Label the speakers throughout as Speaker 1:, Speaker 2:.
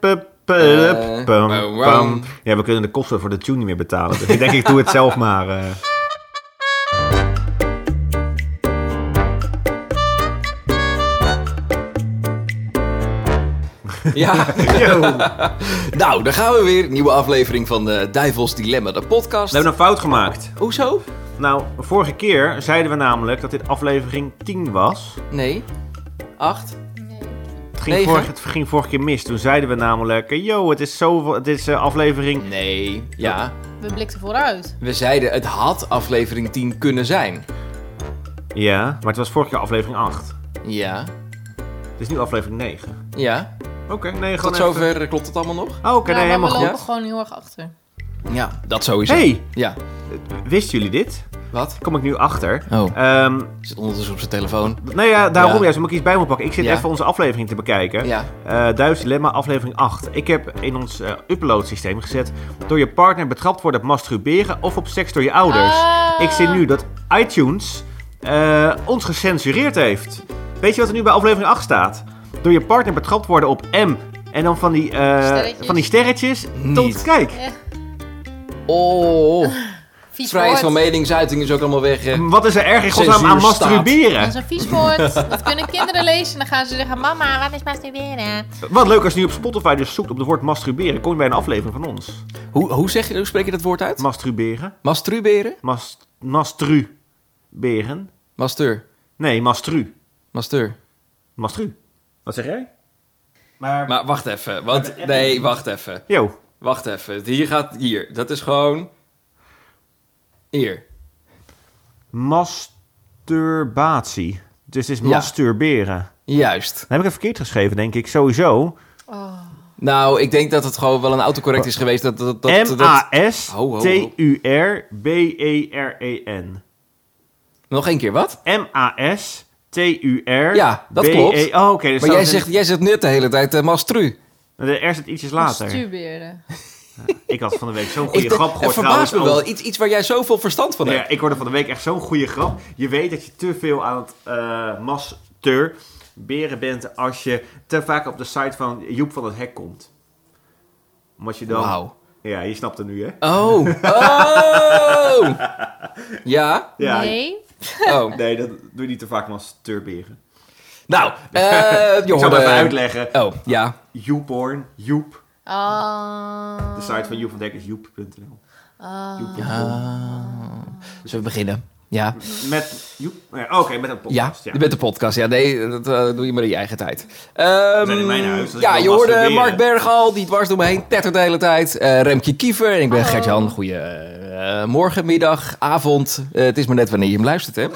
Speaker 1: Eh,
Speaker 2: Pam,
Speaker 1: wow.
Speaker 2: pam. Ja, we kunnen de kosten voor de tune niet meer betalen. Dus ik denk, ik doe het zelf maar. eh.
Speaker 1: Ja.
Speaker 2: Yo. We
Speaker 1: nou, daar gaan we weer. Nieuwe aflevering van de Duivels Dilemma, de podcast.
Speaker 2: hebben een fout gemaakt.
Speaker 1: Hoezo?
Speaker 2: Nou, vorige keer zeiden we namelijk dat dit aflevering 10 was.
Speaker 1: Nee. Acht.
Speaker 2: Het ging,
Speaker 1: Negen.
Speaker 2: vorige, het ging vorige keer mis. Toen zeiden we namelijk, eh, yo, het is, zoveel, het is eh, aflevering...
Speaker 1: Nee. Ja.
Speaker 3: We blikten vooruit.
Speaker 1: We zeiden het had aflevering 10 kunnen zijn.
Speaker 2: Ja, maar het was vorige keer aflevering 8.
Speaker 1: Ja.
Speaker 2: Het is nu aflevering 9.
Speaker 1: Ja.
Speaker 2: Oké, nee, gewoon
Speaker 1: Tot
Speaker 2: even-
Speaker 1: zover eh, klopt het allemaal nog?
Speaker 2: Oh, oké,
Speaker 3: Ja,
Speaker 2: nee,
Speaker 3: Nou, maar
Speaker 2: helemaal
Speaker 3: we
Speaker 2: goed.
Speaker 3: lopen gewoon heel erg achter.
Speaker 1: Ja. Dat sowieso.
Speaker 2: Hey,
Speaker 1: Ja.
Speaker 2: wisten jullie dit?
Speaker 1: Wat?
Speaker 2: Kom ik nu achter.
Speaker 1: Oh.
Speaker 2: Ehm,
Speaker 1: Zit ondertussen op zijn telefoon.
Speaker 2: nou ja, daarom
Speaker 1: Ja.
Speaker 2: juist, moet ik iets bij moet pakken. Ik zit
Speaker 1: Ja.
Speaker 2: even onze aflevering te bekijken. Eh
Speaker 1: Ja.
Speaker 2: Duits Dilemma, aflevering 8. Ik heb in ons eh, upload systeem gezet... door je partner betrapt worden op masturberen of op seks door je ouders.
Speaker 3: Ah.
Speaker 2: Ik zie nu dat iTunes eh, ons gecensureerd heeft. Weet je wat er nu bij aflevering 8 staat? Door je partner betrapt worden op M... En dan van die, eh,
Speaker 3: Sterretjes.
Speaker 2: van die sterretjes tot
Speaker 1: Niet.
Speaker 2: kijk.
Speaker 3: Eh,
Speaker 1: Oh.
Speaker 3: vies
Speaker 1: Vrijheid van
Speaker 3: woord.
Speaker 1: meningsuiting is ook allemaal weg. eh.
Speaker 2: Wat is er erg in godsnaam aan
Speaker 1: Censuurstaat.
Speaker 2: masturberen?
Speaker 3: Dat is een vies woord. Dat kunnen kinderen lezen. En dan gaan ze zeggen, mama, wat is masturberen?
Speaker 2: Wat leuk als je nu op Spotify dus zoekt op het woord masturberen, kom je bij een aflevering van ons.
Speaker 1: Hoe, hoe, zeg, je- hoe spreek je dat woord uit?
Speaker 2: Masturberen?
Speaker 1: Masturberen?
Speaker 2: Mas, mastruberen?
Speaker 1: Mastur.
Speaker 2: Nee, mastru.
Speaker 1: Mastur.
Speaker 2: Mastru. Wat zeg jij? Maar...
Speaker 1: Maar wacht even. Want, nee, wacht even.
Speaker 2: Yo.
Speaker 1: Wacht even. Hier gaat... Hier. Dat is gewoon... Hier.
Speaker 2: Masturbatie. Dus het is
Speaker 1: Ja.
Speaker 2: masturberen.
Speaker 1: Juist.
Speaker 2: Dan heb ik het verkeerd geschreven, denk ik. Sowieso.
Speaker 3: Oh.
Speaker 1: Nou, ik denk dat het gewoon wel een autocorrect is geweest. Dat, dat, dat, dat, Ho, ho, ho.
Speaker 2: E M-A-S-T-U-R-B-E-R-E-N.
Speaker 1: Nog één keer, wat?
Speaker 2: M-A-S-T-U-R.
Speaker 1: Ja, dat klopt.
Speaker 2: B-E- E Oh, oké. dus
Speaker 1: Maar
Speaker 2: dat
Speaker 1: jij
Speaker 2: is-
Speaker 1: zegt, jij zegt net de hele tijd eh, mastru.
Speaker 2: De R zit ietsjes later.
Speaker 3: Masturberen.
Speaker 2: Ik had van de week zo'n goede
Speaker 1: denk-
Speaker 2: grap
Speaker 1: het
Speaker 2: gehoord.
Speaker 1: verbaast me
Speaker 2: trouwens,
Speaker 1: wel. Iets, iets waar jij zoveel verstand van
Speaker 2: over-
Speaker 1: hebt.
Speaker 2: Nou Ja, ik hoorde van de week echt zo'n goede grap. Je weet dat je te veel aan het eh masturberen bent als je te vaak op de site van Joep van het Hek komt. Omdat je dan...
Speaker 1: Wauw.
Speaker 2: Ja, je snapt het nu, hè?
Speaker 1: Oh. Oh. Ja.
Speaker 2: Ja.
Speaker 3: Nee.
Speaker 1: Oh.
Speaker 2: Nee, dat doe je niet te vaak masturberen.
Speaker 1: Nou, eh je
Speaker 2: Ik zal het
Speaker 1: hoorde...
Speaker 2: even uitleggen.
Speaker 1: Oh, ja.
Speaker 2: Joephoorn, Joep.
Speaker 3: Ah.
Speaker 2: De site van Joep van het Hek is joep.nl.
Speaker 3: Ah.
Speaker 2: Joep.
Speaker 1: Ah. Zullen we beginnen? Ja.
Speaker 2: Met Joep... ja, Oké, met een podcast.
Speaker 1: Ja, met de podcast. Ja, nee, dat eh, doe je maar in je eigen tijd. Ehm,
Speaker 2: zijn in mijn huis, dus
Speaker 1: ja,
Speaker 2: ik
Speaker 1: je
Speaker 2: wil
Speaker 1: hoorde
Speaker 2: masturberen.
Speaker 1: Mark Bergal, die dwars door me heen tettert de hele tijd. Eh, Remke Kiever en ik ben
Speaker 3: Hallo.
Speaker 1: Gert-Jan. Goeie eh, morgen, middag, avond. Eh, het is maar net wanneer je hem luistert, hè.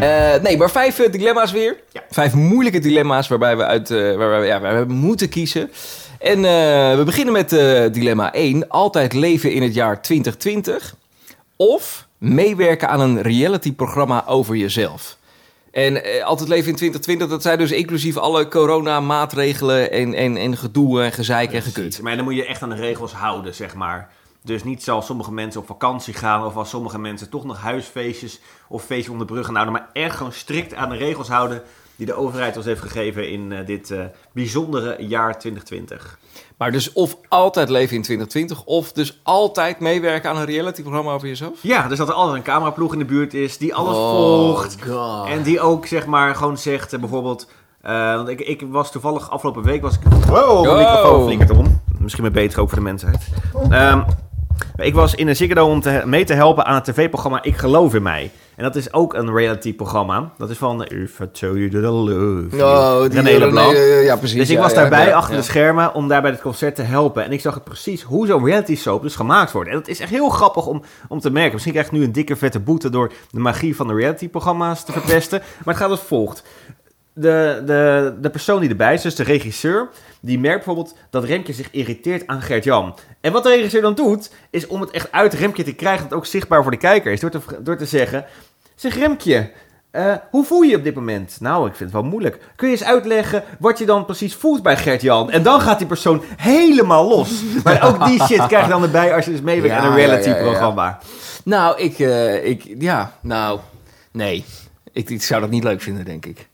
Speaker 1: Eh, nee, maar vijf eh, dilemma's weer.
Speaker 2: Ja.
Speaker 1: Vijf moeilijke dilemma's waarbij we, uit, eh, waarbij we, ja, waar we moeten kiezen. En eh, we beginnen met eh, dilemma 1. Altijd leven in het jaar 2020. Of meewerken aan een realityprogramma over jezelf. En eh, altijd leven in 2020, dat zijn dus inclusief alle coronamaatregelen en, en, en gedoe en gezeik en gekut.
Speaker 2: Precies, Maar dan moet je echt aan de regels houden, zeg maar. Dus niet zoals sommige mensen op vakantie gaan, of als sommige mensen toch nog huisfeestjes of feestjes onder de brug gaan houden. Maar echt gewoon strikt aan de regels houden die de overheid ons heeft gegeven in eh, dit eh, bijzondere jaar 2020.
Speaker 1: Maar dus of altijd leven in 2020, of dus altijd meewerken aan een realityprogramma over jezelf.
Speaker 2: Ja, dus dat er altijd een cameraploeg in de buurt is die alles
Speaker 1: Oh,
Speaker 2: volgt.
Speaker 1: God.
Speaker 2: En die ook, zeg maar, gewoon zegt eh, bijvoorbeeld... eh, want ik, ik was toevallig afgelopen week was ik... Wow, mijn microfoon flikkert om. Misschien maar beter ook voor de mensheid. Ehm, ik was in een Ziggo Dome om te, mee te helpen aan het tv-programma Ik Geloof in Mij. En dat is ook een reality-programma. Dat is van... eh, If I tell you that I love you.
Speaker 1: Oh, die
Speaker 2: René Leblanc.
Speaker 1: eh, ja, precies.
Speaker 2: Dus ik
Speaker 1: ja,
Speaker 2: was
Speaker 1: ja,
Speaker 2: daarbij
Speaker 1: ja,
Speaker 2: achter
Speaker 1: ja.
Speaker 2: de schermen om daar bij het concert te helpen. En ik zag precies hoe zo'n reality soap dus gemaakt wordt. En dat is echt heel grappig om, om te merken. Misschien krijg ik nu een dikke vette boete door de magie van de reality-programma's te verpesten. Maar het gaat als volgt. De, de, de persoon die erbij is, dus de regisseur, die merkt bijvoorbeeld dat Remke zich irriteert aan Gert-Jan. En wat de regisseur dan doet, is om het echt uit Remke te krijgen, dat het ook zichtbaar voor de kijker is, door te, door te zeggen: Zeg Remke, eh, hoe voel je je op dit moment? Nou, ik vind het wel moeilijk. Kun je eens uitleggen wat je dan precies voelt bij Gert-Jan? En dan gaat die persoon helemaal los. Maar ook die shit krijg je dan erbij als je dus meewerkt
Speaker 1: Ja,
Speaker 2: aan een
Speaker 1: ja, ja, ja.
Speaker 2: reality-programma.
Speaker 1: Nou, ik, eh, ik, ja, nou, nee. Ik, ik zou dat niet leuk vinden, denk ik.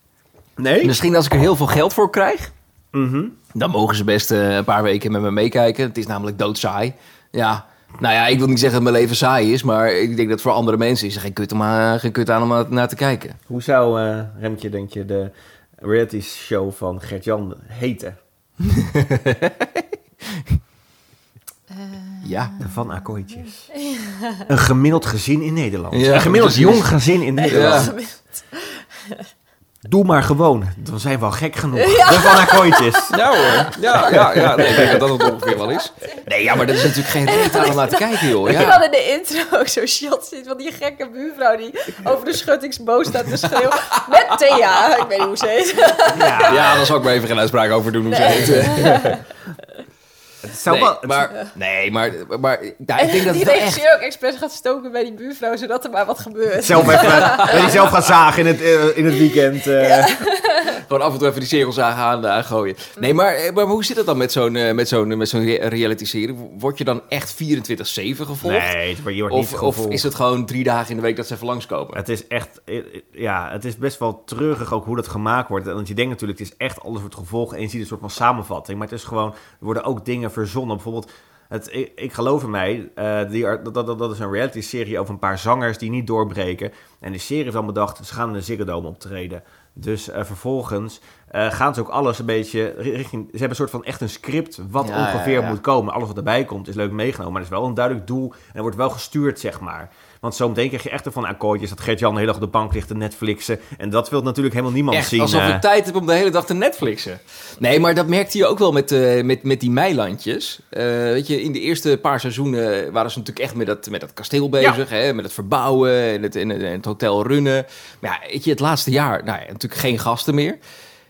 Speaker 2: Nee?
Speaker 1: Misschien als ik er heel veel geld voor krijg,
Speaker 2: Mhm.
Speaker 1: dan mogen ze best eh, een paar weken met me meekijken. Het is namelijk doodsaai. Ja, nou ja, ik wil niet zeggen dat mijn leven saai is, maar ik denk dat voor andere mensen is er geen kut, om aan, geen kut aan om aan- naar te kijken.
Speaker 2: Hoe zou, eh, Remtje, denk je, de reality show van Gert-Jan heten?
Speaker 1: Ja.
Speaker 2: De Van Akooitjes. Een gemiddeld gezin in Nederland.
Speaker 1: Ja,
Speaker 2: een gemiddeld
Speaker 1: precies.
Speaker 2: jong gezin in Nederland. Doe maar gewoon. Dan zijn we al gek genoeg. De Van Akooitjes.
Speaker 1: Ja hoor, ja, ja, ja. Nee, ik denk dat dat het ongeveer wel is. Nee, ja, maar dat is natuurlijk geen reden aan om naar te kijken, joh.
Speaker 4: Ik had
Speaker 1: Ja.
Speaker 4: in de intro ook zo'n shot zien van die gekke buurvrouw die over de schutting boos staat te schreeuwen. Met Thea, ik weet niet hoe ze heet.
Speaker 2: Ja.
Speaker 1: ja, daar zal ik maar even geen uitspraak over doen hoe ze heet.
Speaker 2: Het zou
Speaker 1: nee,
Speaker 2: wel-
Speaker 1: maar, nee, maar, maar nou, ik denk dat
Speaker 4: die
Speaker 1: het wel echt...
Speaker 4: regisseur ook expres gaat stoken bij die buurvrouw, zodat er maar wat gebeurt.
Speaker 2: Zelf even, dat je zelf gaat zagen in het, eh, in het weekend. eh.
Speaker 1: Gewoon af en toe even die cirkelzagen aan, aangooien. Nee, maar, eh, maar hoe zit het dan met zo'n eh, met zo'n met zo'n re- reality-serie? Word je dan echt 24-7 gevolgd?
Speaker 2: Nee, het- maar je wordt niet
Speaker 1: of, of
Speaker 2: gevolgd.
Speaker 1: is het gewoon drie dagen in de week dat ze even langskomen?
Speaker 2: Het is echt, eh, eh, ja, het is best wel treurig ook hoe dat gemaakt wordt. Want je denkt natuurlijk, het is echt alles wordt gevolgd en je ziet een soort van samenvatting. Maar het is gewoon, er worden ook dingen verzonnen. Bijvoorbeeld, het, ik, ik geloof in mij, eh, die, ar- dat, dat, dat is een reality serie over een paar zangers die niet doorbreken. En de serie heeft dan bedacht, ze gaan in de Ziggo Dome optreden. Dus eh, vervolgens eh, gaan ze ook alles een beetje ri- richting... Ze hebben een soort van echt een script wat
Speaker 1: Ja,
Speaker 2: ongeveer
Speaker 1: ja, ja.
Speaker 2: moet komen. Alles wat erbij komt is leuk meegenomen, maar er is wel een duidelijk doel. En er wordt wel gestuurd, zeg maar. Want zometeen krijg je echt ervan akkoordjes dat Gert-Jan de hele dag op de bank ligt te Netflixen. En dat wil natuurlijk helemaal niemand
Speaker 1: Echt,
Speaker 2: zien.
Speaker 1: alsof
Speaker 2: eh.
Speaker 1: ik tijd heb om de hele dag te Netflixen. Nee, maar dat merkte je ook wel met, eh, met, met die meilandjes. Eh, weet je, in de eerste paar seizoenen waren ze natuurlijk echt met dat, met dat kasteel bezig. Hè, met het verbouwen en het, en, het- en het hotel runnen. Maar ja, weet je, het laatste jaar, nou ja, natuurlijk geen gasten meer.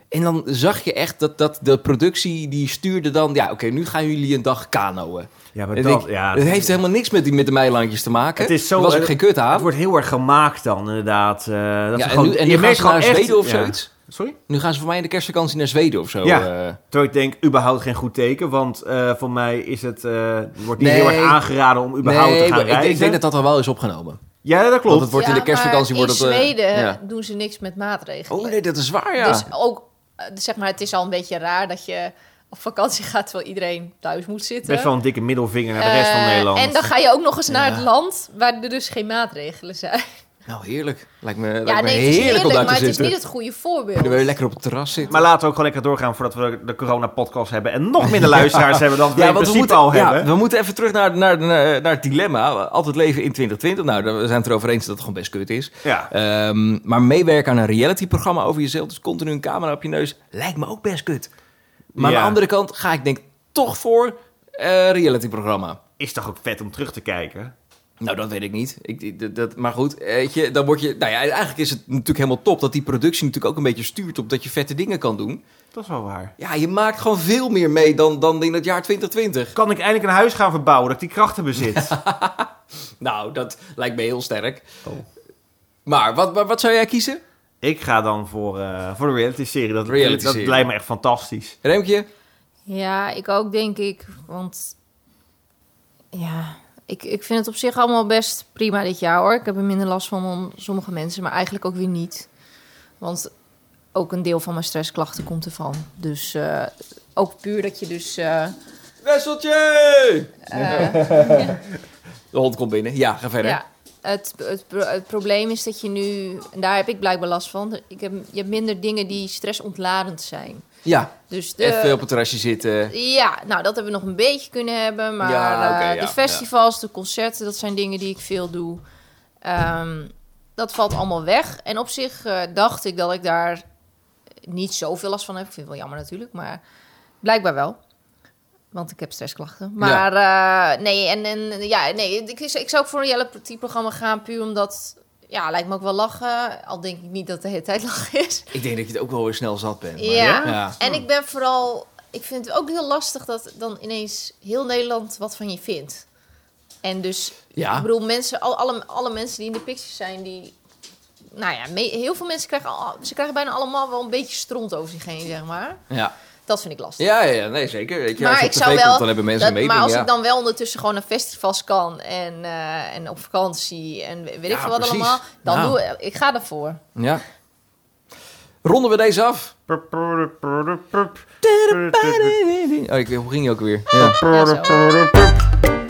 Speaker 1: En dan zag je echt dat, dat de productie die stuurde dan... Ja, oké, nu gaan jullie een dag kanoën.
Speaker 2: Ja, maar
Speaker 1: En
Speaker 2: dat,
Speaker 1: ik-
Speaker 2: ja,
Speaker 1: dat heeft helemaal niks met, die, met de meilandjes te maken.
Speaker 2: Het is zo-
Speaker 1: Er was ook
Speaker 2: het-
Speaker 1: geen kut aan.
Speaker 2: het wordt heel erg gemaakt dan, inderdaad. eh, dat
Speaker 1: Ja,
Speaker 2: ze
Speaker 1: en
Speaker 2: gewoon-
Speaker 1: nu, en
Speaker 2: je
Speaker 1: nu gaan
Speaker 2: merkt
Speaker 1: ze naar
Speaker 2: gewoon echt-
Speaker 1: Zweden of
Speaker 2: ja.
Speaker 1: zoiets.
Speaker 2: Sorry?
Speaker 1: Nu gaan ze voor mij in de kerstvakantie naar Zweden of zo.
Speaker 2: Ja.
Speaker 1: eh.
Speaker 2: Terwijl ik denk, überhaupt geen goed teken. Want eh, voor mij is het, eh, wordt niet
Speaker 1: Nee.
Speaker 2: heel erg aangeraden om überhaupt
Speaker 1: nee,
Speaker 2: te gaan
Speaker 1: maar ik,
Speaker 2: reizen.
Speaker 1: denk- ik denk dat dat al wel is opgenomen.
Speaker 2: Ja, dat
Speaker 1: Want
Speaker 2: klopt.
Speaker 1: het wordt in de
Speaker 3: Ja, maar
Speaker 1: kerstvakantie... wordt
Speaker 3: in
Speaker 1: het, eh,
Speaker 3: Zweden
Speaker 1: ja.
Speaker 3: doen ze niks met maatregelen.
Speaker 1: Oh nee, dat is waar, ja.
Speaker 4: Dus
Speaker 3: Ook, eh, zeg maar, het is al een beetje raar dat je op vakantie gaat terwijl iedereen thuis moet zitten.
Speaker 2: Best wel een dikke middelvinger naar de rest van
Speaker 3: Eh,
Speaker 2: Nederland.
Speaker 3: En dan ga je ook nog eens naar
Speaker 1: Ja.
Speaker 3: het land waar er dus geen maatregelen zijn.
Speaker 1: Nou, heerlijk. Lijkt me,
Speaker 3: ja,
Speaker 1: lijkt me
Speaker 3: nee, het is
Speaker 1: heerlijk,
Speaker 3: heerlijk,
Speaker 1: om daar
Speaker 3: maar
Speaker 1: te
Speaker 3: het is
Speaker 1: zitten.
Speaker 3: niet het goede voorbeeld.
Speaker 1: Kunnen we lekker op het terras zitten.
Speaker 2: Maar laten we ook gewoon lekker doorgaan voordat we de corona-podcast hebben. En nog minder luisteraars hebben dan we in principe al
Speaker 1: ja,
Speaker 2: hebben.
Speaker 1: we moeten even terug naar, naar, naar, naar het dilemma. Altijd leven in 2020. Nou, we zijn het erover eens dat het gewoon best kut is.
Speaker 2: Ja.
Speaker 1: Ehm, maar meewerken aan een realityprogramma over jezelf, dus continu een camera op je neus, lijkt me ook best kut. Maar
Speaker 2: Ja.
Speaker 1: aan de andere kant ga ik denk toch voor eh realityprogramma.
Speaker 2: Is toch ook vet om terug te kijken?
Speaker 1: Nou, dat weet ik niet. Ik, ik- dat- dat, maar goed, eh, weet je, dan word je... Nou ja, eigenlijk is het natuurlijk helemaal top dat die productie natuurlijk ook een beetje stuurt op dat je vette dingen kan doen.
Speaker 2: Dat is wel waar.
Speaker 1: Ja, je maakt gewoon veel meer mee dan, dan in het jaar 2020.
Speaker 2: Kan ik eindelijk een huis gaan verbouwen, dat ik die krachten bezit?
Speaker 1: Nou, dat lijkt me heel sterk.
Speaker 2: Oh.
Speaker 1: Maar wat, wat, wat zou jij kiezen,
Speaker 2: ik ga dan voor, eh, voor de reality-serie. Dat, dat
Speaker 1: Reality-serie.
Speaker 2: lijkt me echt fantastisch.
Speaker 1: Remkje?
Speaker 3: Ja, ik ook, denk ik. Want ja, ik, ik vind het op zich allemaal best prima dit jaar hoor. Ik heb er minder last van dan sommige mensen, maar eigenlijk ook weer niet. Want ook een deel van mijn stressklachten komt ervan. Dus eh, ook puur dat je dus... eh,
Speaker 1: Wesseltje!
Speaker 3: eh,
Speaker 1: De hond komt binnen. Ja, ga verder.
Speaker 3: ja, het, het, pro- het probleem is dat je nu... En daar heb ik blijkbaar last van. Ik heb, je hebt minder dingen die stressontladend zijn.
Speaker 1: Ja,
Speaker 3: Dus de,
Speaker 1: even op het terrasje zitten.
Speaker 3: Ja, nou dat hebben we nog een beetje kunnen hebben. Maar
Speaker 1: eh, Ja, oké,
Speaker 3: eh,
Speaker 1: ja,
Speaker 3: de festivals, de concerten, dat zijn dingen die ik veel doe. Ehm, dat valt allemaal weg. En op zich eh, dacht ik dat ik daar niet zoveel last van heb. Ik vind het wel jammer natuurlijk, maar blijkbaar wel. Want ik heb stressklachten. Maar eh, nee, en, en ja, nee, ik, ik zou ook voor een reality-programma gaan puur omdat... Ja, lijkt me ook wel lachen. Al denk ik niet dat het de hele tijd lachen is.
Speaker 1: Ik denk dat je het ook wel weer snel zat bent. maar-
Speaker 3: Ja.
Speaker 1: ja.
Speaker 3: En ik ben vooral, ik vind het ook heel lastig dat dan ineens heel Nederland wat van je vindt. En dus,
Speaker 1: Ja.
Speaker 3: ik bedoel, mensen, al, alle, alle mensen die in de pictures zijn, die, nou ja, me- heel veel mensen krijgen, al, ze krijgen bijna allemaal wel een beetje stront over zich heen, zeg maar.
Speaker 1: Ja.
Speaker 3: Dat vind ik lastig.
Speaker 1: Ja, ja, nee, zeker. Weet je,
Speaker 3: Maar
Speaker 1: als je op
Speaker 3: ik
Speaker 1: tv
Speaker 3: zou wel-
Speaker 1: komt, dan hebben mensen
Speaker 3: Dat-
Speaker 1: een mening.
Speaker 3: maar als
Speaker 1: ja.
Speaker 3: ik dan wel ondertussen gewoon naar festivals kan en, eh, en op vakantie en weet ik
Speaker 1: Ja,
Speaker 3: veel wat
Speaker 1: precies.
Speaker 3: allemaal, dan
Speaker 1: Nou.
Speaker 3: doe ik, ik ga ervoor.
Speaker 1: Ja. Ronden we deze af? Oh, ik, hoe ging je ook weer? Ja.
Speaker 3: Ja, zo.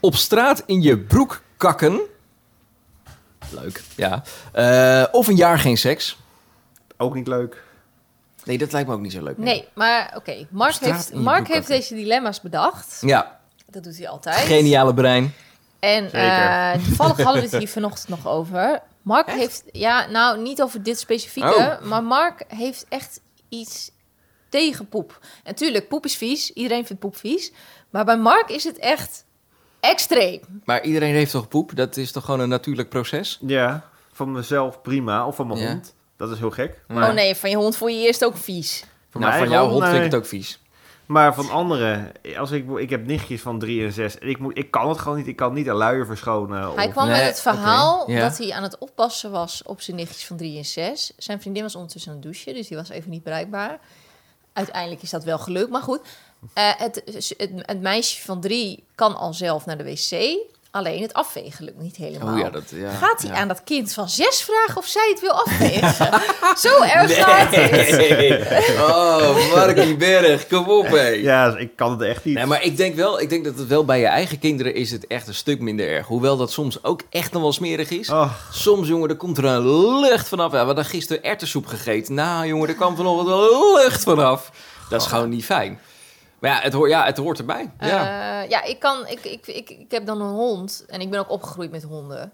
Speaker 1: Op straat in je broek kakken. Leuk, ja. Eh, of een jaar geen seks.
Speaker 2: Ook niet leuk.
Speaker 1: Nee, dat lijkt me ook niet zo leuk.
Speaker 3: Nee, maar oké. Mark,
Speaker 1: straat
Speaker 3: heeft,
Speaker 1: in je
Speaker 3: Mark
Speaker 1: broek
Speaker 3: heeft deze dilemma's bedacht.
Speaker 1: Ja,
Speaker 3: Dat doet hij altijd.
Speaker 1: geniale brein.
Speaker 3: En
Speaker 2: Zeker.
Speaker 3: eh, toevallig hadden we het hier vanochtend nog over. Mark heeft, ja, nou niet over dit specifieke, maar Mark heeft echt iets tegen poep. En tuurlijk, poep is vies. Iedereen vindt poep vies. Maar bij Mark is het echt extreem.
Speaker 1: Maar iedereen heeft toch poep? Dat is toch gewoon een natuurlijk proces?
Speaker 2: Ja, van mezelf prima. Of van mijn
Speaker 1: Ja.
Speaker 2: hond. Dat is heel gek.
Speaker 1: Ja.
Speaker 3: Oh nee, van je hond voel je eerst ook vies.
Speaker 1: Voor
Speaker 2: Nou,
Speaker 1: mij van
Speaker 2: ik wel,
Speaker 1: jouw hond vind ik
Speaker 2: nee.
Speaker 1: het ook vies.
Speaker 2: Maar van anderen, als ik, ik heb nichtjes van drie en zes. En ik, moet, ik kan het gewoon niet. Ik kan niet een luier verschonen.
Speaker 3: Hij
Speaker 2: Of,
Speaker 3: kwam
Speaker 1: Nee,
Speaker 3: met het verhaal
Speaker 1: oké, ja.
Speaker 3: dat hij aan het oppassen was op zijn nichtjes van 3 en 6. Zijn vriendin was ondertussen aan het douchen, dus die was even niet bereikbaar. Uiteindelijk is dat wel gelukt, maar goed. Eh, het, het, het meisje van 3 kan al zelf naar de wc, alleen het afvegen lukt niet helemaal.
Speaker 1: Oh ja, dat... Ja,
Speaker 3: Gaat hij
Speaker 1: ja.
Speaker 3: aan dat kind van 6 vragen of zij het wil afvegen? Zo erg gaat het.
Speaker 1: Oh, Markie Berg, kom op hé.
Speaker 2: ja, dus ik kan het echt niet.
Speaker 1: Nee, maar ik denk wel, ik denk dat het wel bij je eigen kinderen is het echt een stuk minder erg. Hoewel dat soms ook echt nog wel smerig is.
Speaker 2: Oh,
Speaker 1: Soms, jongen, er komt er een lucht vanaf. Ja, we hadden gisteren erwtensoep gegeten. Nou, jongen, er kwam vanochtend een lucht vanaf. Dat is gewoon niet fijn. Maar ja, het, hoort, ja, het hoort erbij. Ja.
Speaker 3: Eh, ja, ik, kan, ik, ik, ik, ik heb dan een hond en ik ben ook opgegroeid met honden.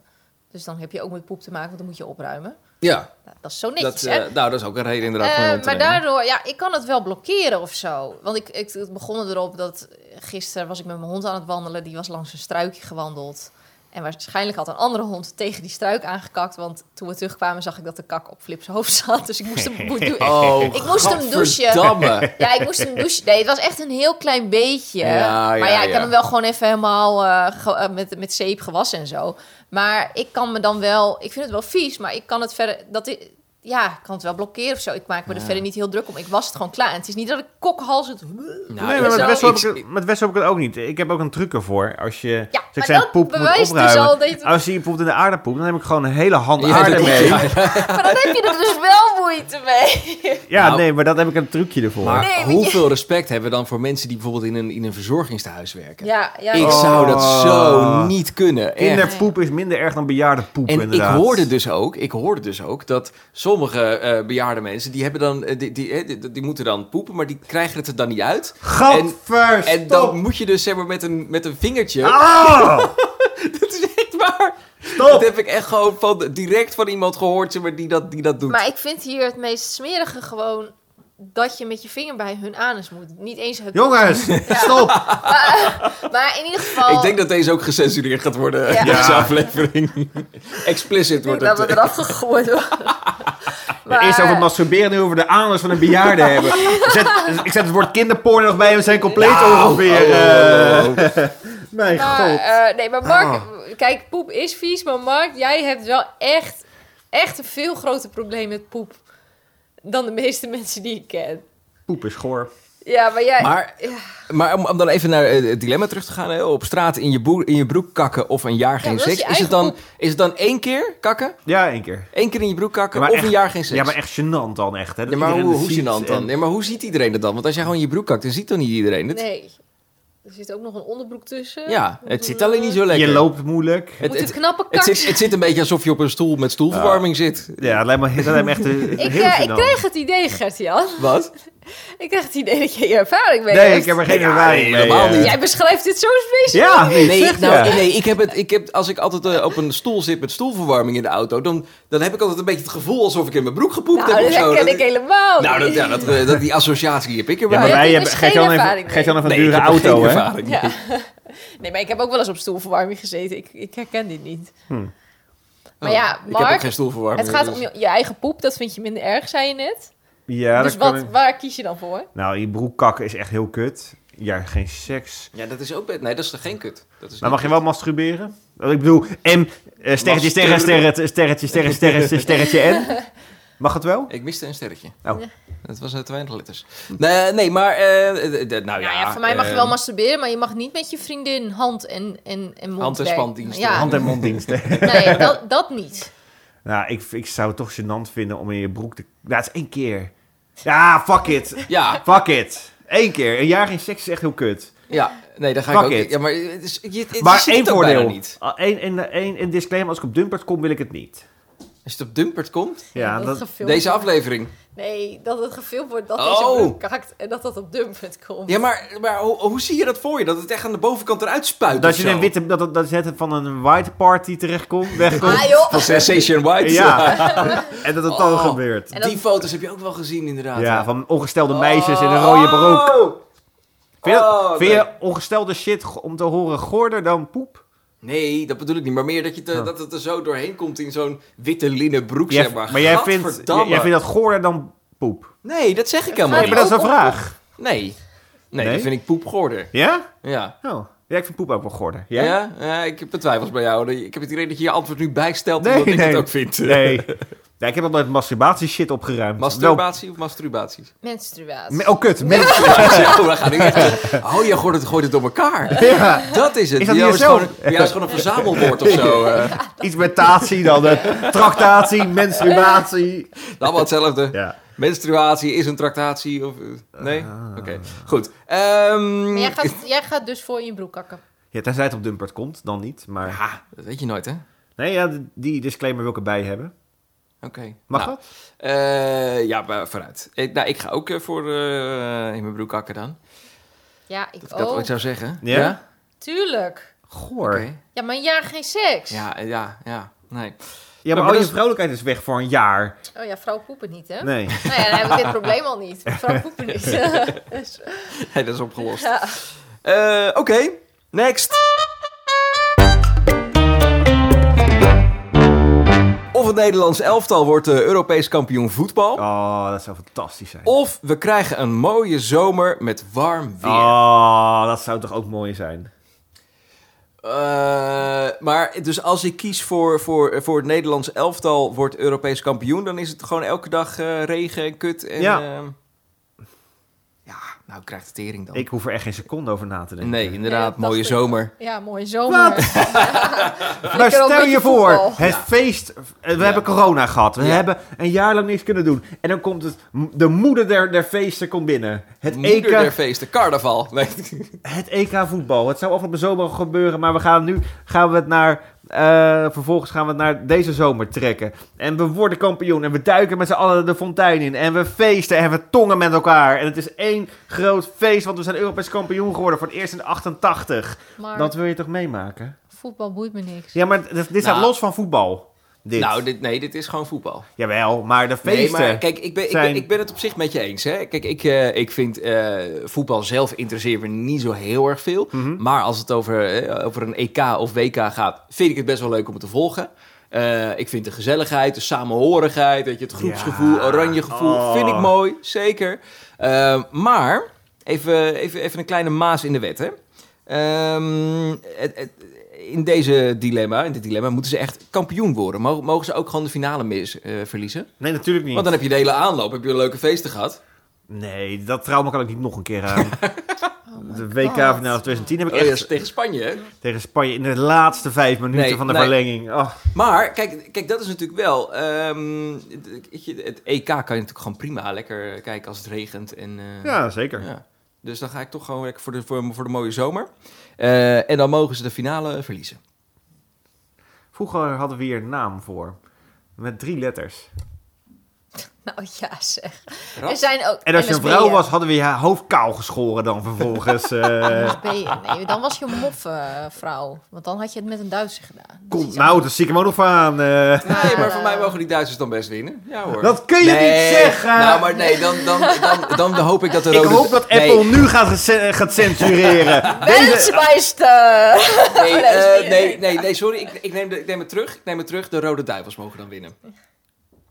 Speaker 3: Dus dan heb je ook met poep te maken, want dan moet je opruimen.
Speaker 1: ja,
Speaker 3: Nou, dat is zo netjes,
Speaker 1: dat,
Speaker 3: hè?
Speaker 1: eh, nou, dat is ook een reden inderdaad
Speaker 3: Eh,
Speaker 1: van om te
Speaker 3: maar
Speaker 1: nemen.
Speaker 3: daardoor, ja, ik kan het wel blokkeren of zo. Want ik, ik het begon erop dat gisteren was ik met mijn hond aan het wandelen. Die was langs een struikje gewandeld. En waarschijnlijk had een andere hond tegen die struik aangekakt. Want toen we terugkwamen zag ik dat de kak op Flip's hoofd zat. Dus ik moest hem, moet doen-
Speaker 1: Oh,
Speaker 3: ik moest hem douchen.
Speaker 1: gadverdamme.
Speaker 3: Ja, ik moest hem douchen. Nee, het was echt een heel klein beetje.
Speaker 1: Ja, ja,
Speaker 3: maar ja, ik
Speaker 1: ja.
Speaker 3: kan hem wel gewoon even helemaal eh, ge- eh, met, met zeep gewassen en zo. Maar ik kan me dan wel... Ik vind het wel vies, maar ik kan het verder... Dat i- ja, ik kan het wel blokkeren of zo. Ik maak me er verder niet heel druk om. Ik was het gewoon klaar. En het is niet dat ik kokkenhals... Het... Ah,
Speaker 1: Nou,
Speaker 2: nee, maar
Speaker 1: ik
Speaker 2: met
Speaker 1: zou-
Speaker 2: Wessel,
Speaker 1: ik-
Speaker 2: heb ik, het- met Wessel heb ik het ook niet. Ik heb ook een truc ervoor. Als je,
Speaker 3: Ja,
Speaker 2: als ik
Speaker 3: maar
Speaker 2: zei,
Speaker 3: dat
Speaker 2: poep moet
Speaker 3: bewijst dus
Speaker 2: opruimen.
Speaker 3: al dat je-
Speaker 2: Als je bijvoorbeeld in de aarde poept, dan heb ik gewoon een hele hand
Speaker 1: Ja,
Speaker 2: aarde
Speaker 1: dat-
Speaker 2: mee.
Speaker 1: ja,
Speaker 2: Ja,
Speaker 3: Maar dan heb je er dus wel moeite mee.
Speaker 1: Nou.
Speaker 2: nee, maar dat heb ik een trucje ervoor.
Speaker 1: Maar
Speaker 3: Nee, want je-
Speaker 1: hoeveel respect hebben we dan voor mensen die bijvoorbeeld in een, in een verzorgingstehuis werken?
Speaker 3: Ja, ja.
Speaker 1: Ik
Speaker 2: Oh.
Speaker 1: zou dat zo niet kunnen. echt.
Speaker 2: Kinderpoep is minder erg dan bejaardenpoep,
Speaker 1: En
Speaker 2: inderdaad.
Speaker 1: ik hoorde dus ook, ik hoorde dus ook dat sommige eh, bejaarde mensen die hebben dan, eh, die, die, eh, die, die moeten dan poepen, maar die krijgen het er dan niet uit.
Speaker 2: Gadver,
Speaker 1: En
Speaker 2: stop.
Speaker 1: dan moet je dus zeg maar met een, met een vingertje.
Speaker 2: Ah,
Speaker 1: Dat is echt waar. Dat
Speaker 2: stop.
Speaker 1: heb ik echt gewoon van, direct van iemand gehoord zeg maar, die, dat, die dat doet.
Speaker 3: Maar ik vind hier het meest smerige gewoon... dat je met je vinger bij hun anus moet. Niet eens het...
Speaker 2: Jongens, stop.
Speaker 3: Maar in ieder geval...
Speaker 1: Ik denk dat deze ook gecensureerd gaat worden,
Speaker 3: Ja.
Speaker 1: deze
Speaker 2: Ja.
Speaker 1: aflevering. Explicit
Speaker 3: Ik denk
Speaker 1: wordt
Speaker 3: dat
Speaker 1: het.
Speaker 3: we eraf gegooid worden.
Speaker 2: Er is over masturberen nu over de anus van een bejaarde hebben. Zet, ik zet het woord kinderporno nog bij en we zijn compleet ongeveer... eh,
Speaker 1: Nou. Oh, oh, oh.
Speaker 2: Mijn
Speaker 3: Maar,
Speaker 2: god.
Speaker 3: eh, nee, maar Mark,
Speaker 1: Ah.
Speaker 3: kijk, poep is vies, maar Mark, jij hebt wel echt, echt een veel groter probleem met poep dan de meeste mensen die ik ken.
Speaker 2: Poep is goor.
Speaker 3: Ja, maar jij.
Speaker 1: Maar, maar om, om dan even naar eh, het dilemma terug te gaan. Hè, op straat in je, boer- in je broek kakken of een jaar geen
Speaker 3: dat is
Speaker 1: seks.
Speaker 3: je
Speaker 1: Is het,
Speaker 3: eigen
Speaker 1: dan,
Speaker 3: poep.
Speaker 1: is het dan één keer kakken?
Speaker 2: Ja, één keer.
Speaker 1: Eén keer in je broek kakken
Speaker 2: Ja, maar
Speaker 1: of een
Speaker 2: echt-
Speaker 1: jaar geen seks?
Speaker 2: Ja, maar echt gênant dan echt. Hè? Dat
Speaker 1: Ja, maar
Speaker 2: iedereen
Speaker 1: hoe,
Speaker 2: het
Speaker 1: hoe
Speaker 2: ziet
Speaker 1: gênant dan?
Speaker 2: en-
Speaker 1: Nee, maar hoe ziet iedereen het dan? Want als jij gewoon in je broek kakt, dan ziet toch niet iedereen het?
Speaker 3: nee, er zit ook nog een onderbroek tussen.
Speaker 1: Ja, het zit alleen niet zo lekker.
Speaker 2: Je loopt moeilijk.
Speaker 1: Het,
Speaker 3: Moet
Speaker 1: het,
Speaker 3: een knappe
Speaker 1: het
Speaker 3: kak.
Speaker 1: zit, het zit een beetje alsof je op een stoel met stoelverwarming zit.
Speaker 2: Ja, dat lijkt me, dat lijkt me echt eh,
Speaker 3: Ik,
Speaker 2: heel
Speaker 3: eh, ik
Speaker 2: gênant.
Speaker 3: kreeg het idee, Gert-Jan.
Speaker 1: Wat?
Speaker 3: Ik kreeg het idee dat je hier ervaring mee
Speaker 2: Nee,
Speaker 3: hebt.
Speaker 2: ik heb er geen ervaring mee.
Speaker 1: helemaal
Speaker 2: eh.
Speaker 1: niet.
Speaker 3: Jij beschrijft dit zo specifiek.
Speaker 2: Ja, nee,
Speaker 1: Nee,
Speaker 2: zeg
Speaker 1: ik, nou,
Speaker 2: ja.
Speaker 1: nee ik heb het, ik heb, als ik altijd eh, op een stoel zit met stoelverwarming in de auto, dan, dan heb ik altijd een beetje het gevoel alsof ik in mijn broek gepoept
Speaker 3: Nou,
Speaker 1: heb
Speaker 3: dat
Speaker 1: of zo.
Speaker 3: herken
Speaker 1: Dat-
Speaker 3: ik helemaal
Speaker 1: nou, dat,
Speaker 3: niet.
Speaker 1: ja, dat, eh, dat, die associatie heb ik
Speaker 2: Ja,
Speaker 1: erbij.
Speaker 2: maar
Speaker 3: Ja,
Speaker 2: wij
Speaker 3: er
Speaker 2: hebben...
Speaker 3: is
Speaker 2: Geef
Speaker 3: geen
Speaker 2: Jan
Speaker 3: ervaring
Speaker 2: even, geef
Speaker 3: mee.
Speaker 2: Jan even een
Speaker 1: Nee,
Speaker 2: dure
Speaker 1: ik heb er geen
Speaker 2: auto, hè?
Speaker 1: ervaring
Speaker 3: Ja.
Speaker 1: mee.
Speaker 3: Nee, maar ik heb ook wel eens op stoelverwarming gezeten. Ik, ik herken dit niet. Maar
Speaker 1: Hm. Oh,
Speaker 3: ja,
Speaker 1: ik heb ook
Speaker 3: Mark,
Speaker 1: geen stoelverwarming.
Speaker 3: Het gaat
Speaker 1: dus-
Speaker 3: om je, je eigen poep, dat vind je minder erg, zei je net.
Speaker 2: Ja,
Speaker 3: dus
Speaker 2: dat
Speaker 3: wat,
Speaker 2: kan ik-
Speaker 3: waar kies je dan voor?
Speaker 2: Nou, je broek kakken is echt heel kut. Ja, geen seks.
Speaker 1: Ja, dat is ook... be- Nee, dat is toch geen kut. Dat is
Speaker 2: Maar
Speaker 1: niet
Speaker 2: mag je wel masturberen? Want Ik bedoel, M, eh, sterretje, sterretje, sterretje, sterretje, sterretje, sterretje, sterretje, N. Mag het wel?
Speaker 1: Ik miste een sterretje.
Speaker 2: Oh.
Speaker 1: Dat was eh, te weinig letters. Nee, nee maar... eh, eh, eh, nou ja,
Speaker 3: Nou ja, voor mij mag je wel
Speaker 1: eh,
Speaker 3: masturberen, maar je mag niet met je vriendin hand en, en, en mond
Speaker 1: Hand- en
Speaker 3: werken.
Speaker 1: spandiensten.
Speaker 3: Ja,
Speaker 2: Hand- en monddiensten.
Speaker 3: nee, dat, dat niet.
Speaker 2: nou, ik, ik zou het toch gênant vinden om in je broek te... Nou, het is één keer. Ja, fuck it.
Speaker 1: Ja,
Speaker 2: Fuck it. Eén keer. Een jaar geen seks is echt heel
Speaker 1: Eh,
Speaker 2: kut.
Speaker 1: ja. Nee, daar ga
Speaker 2: Fuck
Speaker 1: ik ook...
Speaker 2: it.
Speaker 1: Ja, maar het is, je, het, je
Speaker 2: maar
Speaker 1: ziet
Speaker 2: één
Speaker 1: het ook bijna
Speaker 2: voordeel.
Speaker 1: niet.
Speaker 2: Ah, één één- één- een disclaimer. Als ik op Dumpert kom, wil ik het niet.
Speaker 1: Als het op Dumpert komt,
Speaker 2: Ja, dat...
Speaker 4: gefilmd
Speaker 1: deze
Speaker 4: wordt.
Speaker 1: aflevering.
Speaker 4: Nee, dat het gefilmd wordt dat
Speaker 1: Oh.
Speaker 4: deze broek kakt en dat dat op Dumpet komt.
Speaker 1: Ja, maar, maar hoe, hoe zie je dat voor je? Dat het echt aan de bovenkant eruit spuit
Speaker 2: Dat
Speaker 1: of
Speaker 2: je
Speaker 1: zo?
Speaker 2: een witte, dat, dat, dat je net van een white party terechtkomt, wegkomt.
Speaker 4: Ah joh,
Speaker 1: Van Sensation White.
Speaker 2: Ja. en dat het dan
Speaker 1: Oh.
Speaker 2: gebeurt.
Speaker 1: Die
Speaker 3: En dat-
Speaker 1: foto's heb je ook wel gezien, inderdaad.
Speaker 2: Ja, van ongestelde
Speaker 1: Oh.
Speaker 2: meisjes in een rode broek. Vind je,
Speaker 1: Oh,
Speaker 2: vind
Speaker 1: nee.
Speaker 2: je ongestelde shit go- om te horen goorder dan poep?
Speaker 1: Nee, dat bedoel ik niet. Maar meer dat, je te-
Speaker 2: Oh.
Speaker 1: dat het er zo doorheen komt in zo'n witte linnen broek,
Speaker 2: Jij-
Speaker 1: zeg maar.
Speaker 2: jij vindt,
Speaker 1: Gadverdamme.
Speaker 2: jij jij vindt dat goorder dan poep?
Speaker 1: Nee, dat zeg ik helemaal
Speaker 2: Nee, maar
Speaker 1: niet.
Speaker 2: dat is een vraag.
Speaker 1: Nee. Nee,
Speaker 2: Nee?
Speaker 1: dat vind ik poepgorder.
Speaker 2: Ja?
Speaker 1: Ja.
Speaker 2: Oh. Ja, ik vind poep ook wel goorder.
Speaker 1: Ja?
Speaker 2: Jij?
Speaker 1: Ja, ik heb twijfels bij jou. Ik heb het idee dat je je antwoord nu bijstelt
Speaker 2: Nee,
Speaker 1: omdat ik
Speaker 2: nee.
Speaker 1: het ook vind.
Speaker 2: Nee. Ja, ik heb altijd masturbatie shit opgeruimd.
Speaker 1: Masturbatie of masturbatie?
Speaker 3: Menstruatie.
Speaker 2: Wel- me- Oh, kut. mensen.
Speaker 1: oh, we gaan nu echt... Oh, je gooit het, gooit het door elkaar.
Speaker 2: Ja.
Speaker 1: Dat is het.
Speaker 2: Is dat
Speaker 1: Bij
Speaker 2: niet
Speaker 1: jou
Speaker 2: zo?
Speaker 1: gewoon, bij jou is gewoon een verzamelwoord of zo. eh.
Speaker 2: Iets met tatie dan. eh, Tractatie, menstruatie.
Speaker 1: allemaal hetzelfde.
Speaker 2: Ja.
Speaker 1: Menstruatie is een tractatie of... eh, Nee?
Speaker 2: Ah.
Speaker 1: Oké, goed. Ehm,
Speaker 3: Maar jij gaat, jij gaat dus voor in je broek kakken.
Speaker 2: Ja, tenzij het op Dumpert komt, dan niet. Maar
Speaker 1: Ja, dat weet je nooit, hè? Oké.
Speaker 2: nee, ja, d- die disclaimer wil ik erbij hebben. Mag
Speaker 1: Nou,
Speaker 2: dat?
Speaker 1: eh, ja, maar vooruit. Ik, nou, ik ga ook eh, voor eh, in mijn broek hakken dan.
Speaker 3: Ja, ik
Speaker 1: Dat ik dat
Speaker 3: ook.
Speaker 1: ooit zou zeggen.
Speaker 2: Ja?
Speaker 3: Tuurlijk.
Speaker 2: Goor.
Speaker 1: Oké.
Speaker 3: Ja, maar een jaar geen seks.
Speaker 1: Ja, eh, ja, ja. Nee.
Speaker 2: Ja,
Speaker 1: Nou, maar
Speaker 2: maar al
Speaker 1: dat
Speaker 2: je
Speaker 1: is-
Speaker 2: vrolijkheid is weg voor een jaar.
Speaker 3: Oh ja, vrouwen poepen niet, hè?
Speaker 2: Nee.
Speaker 3: Nou ja, dan heb ik dit probleem al niet. want Vrouwen poepen niet. Dus,
Speaker 1: Hey, dat is opgelost.
Speaker 3: ja.
Speaker 1: Eh, Oké, next. Of het Nederlands elftal wordt eh, Europees kampioen voetbal.
Speaker 2: Oh, dat zou fantastisch zijn.
Speaker 1: Of we krijgen een mooie zomer met warm weer.
Speaker 2: Oh, dat zou toch ook mooi zijn.
Speaker 1: Eh, maar dus als ik kies voor, voor, voor het Nederlands elftal wordt Europees kampioen, dan is het gewoon elke dag eh, regen en kut. En,
Speaker 2: Ja.
Speaker 1: ehm, ja, nou krijgt de tering dan.
Speaker 2: Ik hoef er echt geen seconde over na te denken.
Speaker 1: nee,
Speaker 3: Nee,
Speaker 1: inderdaad,
Speaker 3: dat
Speaker 1: mooie
Speaker 3: dacht ik.
Speaker 1: zomer.
Speaker 3: ja, mooie zomer.
Speaker 2: Maar
Speaker 3: ook
Speaker 2: stel
Speaker 3: een
Speaker 2: je
Speaker 3: beetje
Speaker 2: voor,
Speaker 3: voetbal.
Speaker 2: het feest. We hebben corona gehad. We
Speaker 1: Ja.
Speaker 2: hebben een jaar lang niks kunnen doen. En dan komt het, de moeder der, der feesten komt binnen. Het
Speaker 1: Moeder
Speaker 2: EK,
Speaker 1: der feesten, carnaval. Nee.
Speaker 2: het EK voetbal. Het zou afgelopen zomer gebeuren. Maar we gaan nu gaan we het naar. eh, vervolgens gaan we het naar deze zomer trekken. En we worden kampioen. En we duiken met z'n allen de fontein in. En we feesten. En we tongen met elkaar. En het is één groot feest. Want we zijn Europees kampioen geworden. Voor het eerst in 88.
Speaker 3: Maar
Speaker 2: Dat wil je toch meemaken?
Speaker 3: voetbal boeit me niks.
Speaker 2: Ja, maar d- dit staat
Speaker 1: Nou.
Speaker 2: los van voetbal. Dit.
Speaker 1: Nou, dit, nee, dit is gewoon voetbal.
Speaker 2: Jawel, maar de
Speaker 1: Nee,
Speaker 2: feesten.
Speaker 1: maar kijk, ik ben, ik, ben,
Speaker 2: zijn-
Speaker 1: ik ben het op zich met je eens. Hè? Kijk, ik, eh, ik vind eh, voetbal zelf interesseert me niet zo heel erg veel.
Speaker 2: Mhm.
Speaker 1: Maar als het over, eh, over een EK of WK gaat, vind ik het best wel leuk om het te volgen. Eh, ik vind de gezelligheid, de samenhorigheid, weet je, het groepsgevoel,
Speaker 2: Ja.
Speaker 1: oranje gevoel,
Speaker 2: Oh.
Speaker 1: vind ik mooi, zeker. Eh, maar even, even, even een kleine maas in de wet, hè. Ehm, het- het- in deze dilemma, in dit dilemma, moeten ze echt kampioen worden. Mogen, mogen ze ook gewoon de finale mis, eh, verliezen?
Speaker 2: Nee, natuurlijk niet.
Speaker 1: Want dan heb je de hele aanloop, heb je een leuke feesten gehad.
Speaker 2: Nee, dat trauma kan ik niet nog een keer aan. de WK
Speaker 3: Oh God.
Speaker 2: finale 2010 heb ik
Speaker 1: Oh,
Speaker 2: echt
Speaker 1: ja, is tegen Spanje. hè?
Speaker 2: tegen Spanje in de laatste vijf minuten
Speaker 1: Nee,
Speaker 2: van de
Speaker 1: nee.
Speaker 2: verlenging. Oh,
Speaker 1: Maar kijk, kijk, dat is natuurlijk wel. ehm, het- weet je, het EK kan je natuurlijk gewoon prima lekker kijken als het regent. En, eh,
Speaker 2: ja, zeker.
Speaker 1: ja. Dus dan ga ik toch gewoon lekker voor de, voor, voor de mooie zomer. Eh, en dan mogen ze de finale verliezen.
Speaker 2: Vroeger hadden we hier een naam voor. Met drie letters.
Speaker 3: Nou ja, zeg.
Speaker 1: Rat?
Speaker 3: Er zijn ook
Speaker 2: En als je een
Speaker 3: MSB'er.
Speaker 2: vrouw was, hadden we je hoofd kaal geschoren dan vervolgens. eh.
Speaker 3: MSB'er. Nee, dan was je een moffe eh, vrouw. Want dan had je het met een Duitser gedaan. Dus Dat
Speaker 2: Kom,
Speaker 3: is
Speaker 2: nou, dat zie ik hem ook nog aan. eh.
Speaker 1: Nee, maar
Speaker 3: eh,
Speaker 1: voor mij mogen die Duitsers dan best winnen. Ja hoor.
Speaker 2: Dat kun je
Speaker 1: Nee,
Speaker 2: niet zeggen!
Speaker 1: Nou, maar nee, dan, dan, dan, dan hoop ik dat de
Speaker 2: Ik
Speaker 1: rode...
Speaker 2: hoop dat Apple
Speaker 1: Nee,
Speaker 2: nu gaat, gece- gaat censureren. Deze,
Speaker 4: Menswijster!
Speaker 1: nee, eh,
Speaker 4: Oh, Dat is-
Speaker 1: nee, nee, nee, sorry, ik, ik, neem de, ik neem het terug. Ik neem het terug, de rode duivels mogen dan winnen.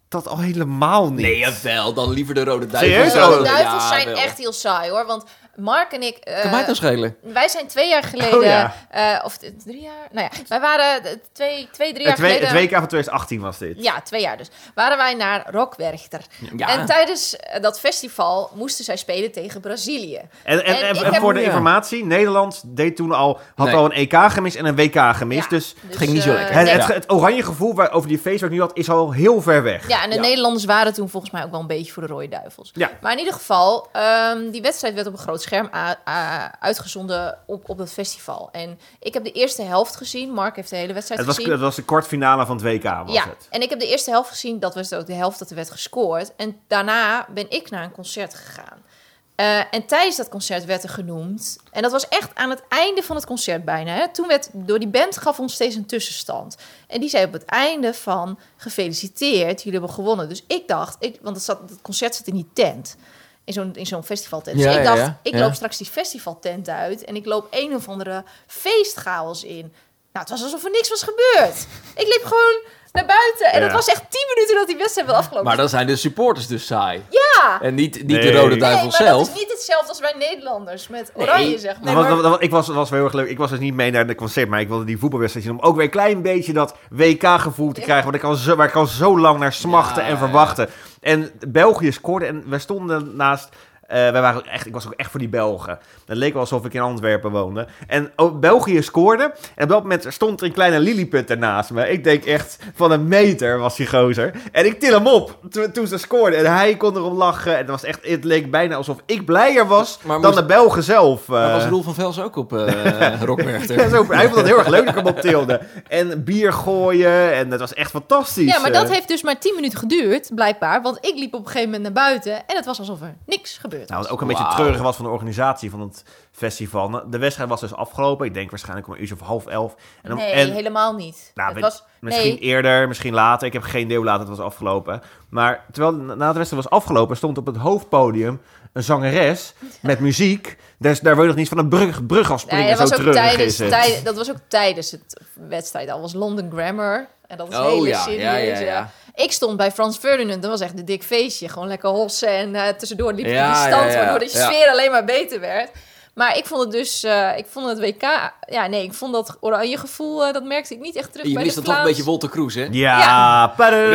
Speaker 2: dat al helemaal niet.
Speaker 1: Nee, jawel. Dan liever de Rode Duivels.
Speaker 2: Serieus?
Speaker 3: De
Speaker 2: Oh,
Speaker 3: Duivels
Speaker 1: Ja,
Speaker 3: zijn
Speaker 1: wel.
Speaker 3: echt heel saai hoor. Want Mark en ik... eh,
Speaker 1: Kan mij het nou schelen?
Speaker 3: wij zijn twee jaar geleden,
Speaker 2: Oh ja.
Speaker 3: eh, of t- drie jaar, nou ja, wij waren eh, twee, twee drie jaar
Speaker 2: Het, we- het
Speaker 3: geleden.
Speaker 2: WK van 2018 was dit.
Speaker 3: Ja, twee jaar dus. Waren wij naar Rockwerchter.
Speaker 1: Ja.
Speaker 3: En tijdens eh, dat festival moesten zij spelen tegen Brazilië.
Speaker 2: En, en,
Speaker 3: En
Speaker 2: en-
Speaker 3: ik
Speaker 2: en
Speaker 3: heb-
Speaker 2: voor de
Speaker 1: Ja.
Speaker 2: informatie, Nederland deed toen al, had
Speaker 1: Nee.
Speaker 2: al een EK gemist en een WK gemist.
Speaker 3: Ja,
Speaker 2: Dus
Speaker 3: dus,
Speaker 1: ging niet zo
Speaker 3: eh,
Speaker 1: lekker.
Speaker 2: het,
Speaker 3: nee.
Speaker 2: het,
Speaker 1: Ja.
Speaker 2: het oranje gevoel waar, over die feest waar ik nu had, is al heel ver weg.
Speaker 3: Ja, en de
Speaker 1: Ja.
Speaker 3: Nederlanders waren toen volgens mij ook wel een beetje voor de rode duivels.
Speaker 2: Ja.
Speaker 3: Maar in ieder geval, ehm, die wedstrijd werd op een groot scherm a- a- uitgezonden op, op dat festival. En ik heb de eerste helft gezien. Mark heeft de hele wedstrijd
Speaker 2: Het, was,
Speaker 3: gezien.
Speaker 2: het was de kwartfinale van het WK, was
Speaker 3: ja,
Speaker 2: het.
Speaker 3: en ik heb de eerste helft gezien. Dat was ook de helft dat er werd gescoord. En daarna ben ik naar een concert gegaan. Eh, en tijdens dat concert werd er genoemd. En dat was echt aan het einde van het concert bijna. Hè. Toen werd door die band gaf ons steeds een tussenstand. En die zei op het einde van gefeliciteerd, jullie hebben gewonnen. Dus ik dacht, ik, want het, zat, het concert zit in die tent. In zo'n, in zo'n festivaltent.
Speaker 1: Ja,
Speaker 3: dus ik
Speaker 1: ja,
Speaker 3: dacht,
Speaker 1: ja.
Speaker 3: ik
Speaker 1: Ja.
Speaker 3: loop straks die festivaltent uit. En ik loop een of andere feestchaos in. Nou, het was alsof er niks was gebeurd. Ik liep gewoon naar buiten. En
Speaker 2: Ja.
Speaker 3: het was echt tien minuten dat die wedstrijd wel afgelopen
Speaker 1: Maar
Speaker 3: was.
Speaker 1: dan zijn de supporters dus saai.
Speaker 3: Ja!
Speaker 1: En niet, niet
Speaker 2: Nee.
Speaker 1: de Rode
Speaker 2: Nee,
Speaker 3: Nee,
Speaker 1: Duivel
Speaker 3: maar
Speaker 1: zelf.
Speaker 3: dat is niet hetzelfde als wij Nederlanders met oranje,
Speaker 1: Nee.
Speaker 3: zeg maar.
Speaker 2: Nou, wat- wat- wat- ik was, was wel heel erg leuk. Ik was dus niet mee naar de concert, maar ik wilde die voetbalwedstrijd zien om ook weer een klein beetje dat WK-gevoel te krijgen, want ik al zo, waar ik al zo lang naar smachten
Speaker 1: Ja,
Speaker 2: en verwachten. En België scoorde en wij stonden naast. eh, wij waren echt, ik was ook echt voor die Belgen. Het leek wel alsof ik in Antwerpen woonde. En ook België scoorde. En op dat moment stond er een kleine Lilliput ernaast me. Ik denk echt van een meter was die gozer. En ik til hem op toen, toen ze scoorden. En hij kon erom lachen. En het, was echt, het leek bijna alsof ik blijer was
Speaker 1: Maar
Speaker 2: dan
Speaker 1: moest-
Speaker 2: de Belgen zelf. eh.
Speaker 1: Maar was Roel van Vels ook op eh Rockwerchter?
Speaker 2: Ja, zo, hij vond het heel erg leuk dat ik hem optilde. En bier gooien. En dat was echt fantastisch.
Speaker 3: Ja, maar
Speaker 2: Eh,
Speaker 3: dat heeft dus maar tien minuten geduurd, blijkbaar. Want ik liep op een gegeven moment naar buiten en het was alsof er niks gebeurd
Speaker 2: Nou,
Speaker 3: was.
Speaker 2: wat ook een beetje
Speaker 1: Wauw.
Speaker 2: treurig was van de organisatie van het festival. Nou, De wedstrijd was dus afgelopen. Ik denk waarschijnlijk om een uurtje of half elf. En om-
Speaker 3: nee,
Speaker 2: en,
Speaker 3: helemaal niet.
Speaker 2: nou,
Speaker 3: het
Speaker 2: weet-
Speaker 3: was,
Speaker 2: Misschien
Speaker 3: nee,
Speaker 2: eerder, misschien later. Ik heb geen deel later. Het was afgelopen. Maar terwijl na na de wedstrijd was afgelopen, stond op het hoofdpodium een zangeres met muziek. Dus daar wil je nog niet van een brug, brug af springen.
Speaker 3: nee, dat,
Speaker 2: zo
Speaker 3: was ook
Speaker 2: treurig
Speaker 3: tijdens,
Speaker 2: is het.
Speaker 3: tij- dat was ook tijdens het wedstrijd. Dat was London Grammar. En dat is
Speaker 1: Oh,
Speaker 3: hele
Speaker 1: ja,
Speaker 3: serieus.
Speaker 1: ja, ja,
Speaker 3: hè.
Speaker 1: ja.
Speaker 3: Ik stond bij Frans Ferdinand. Dat was echt een dik feestje. Gewoon lekker hossen. En eh, tussendoor liep je
Speaker 1: Ja,
Speaker 3: die
Speaker 1: ja,
Speaker 3: stand...
Speaker 1: ja,
Speaker 3: waardoor de
Speaker 1: ja.
Speaker 3: sfeer alleen maar beter werd. Maar ik vond het dus... eh, ik vond het WK... Ja, nee, ik vond dat oranje gevoel... eh, dat merkte ik niet echt terug
Speaker 1: Je
Speaker 3: bij
Speaker 1: mist
Speaker 3: de
Speaker 1: dan toch een
Speaker 3: Vlaams.
Speaker 1: beetje Wolter Kroes, hè?
Speaker 2: Ja,
Speaker 3: Ja.
Speaker 2: padden-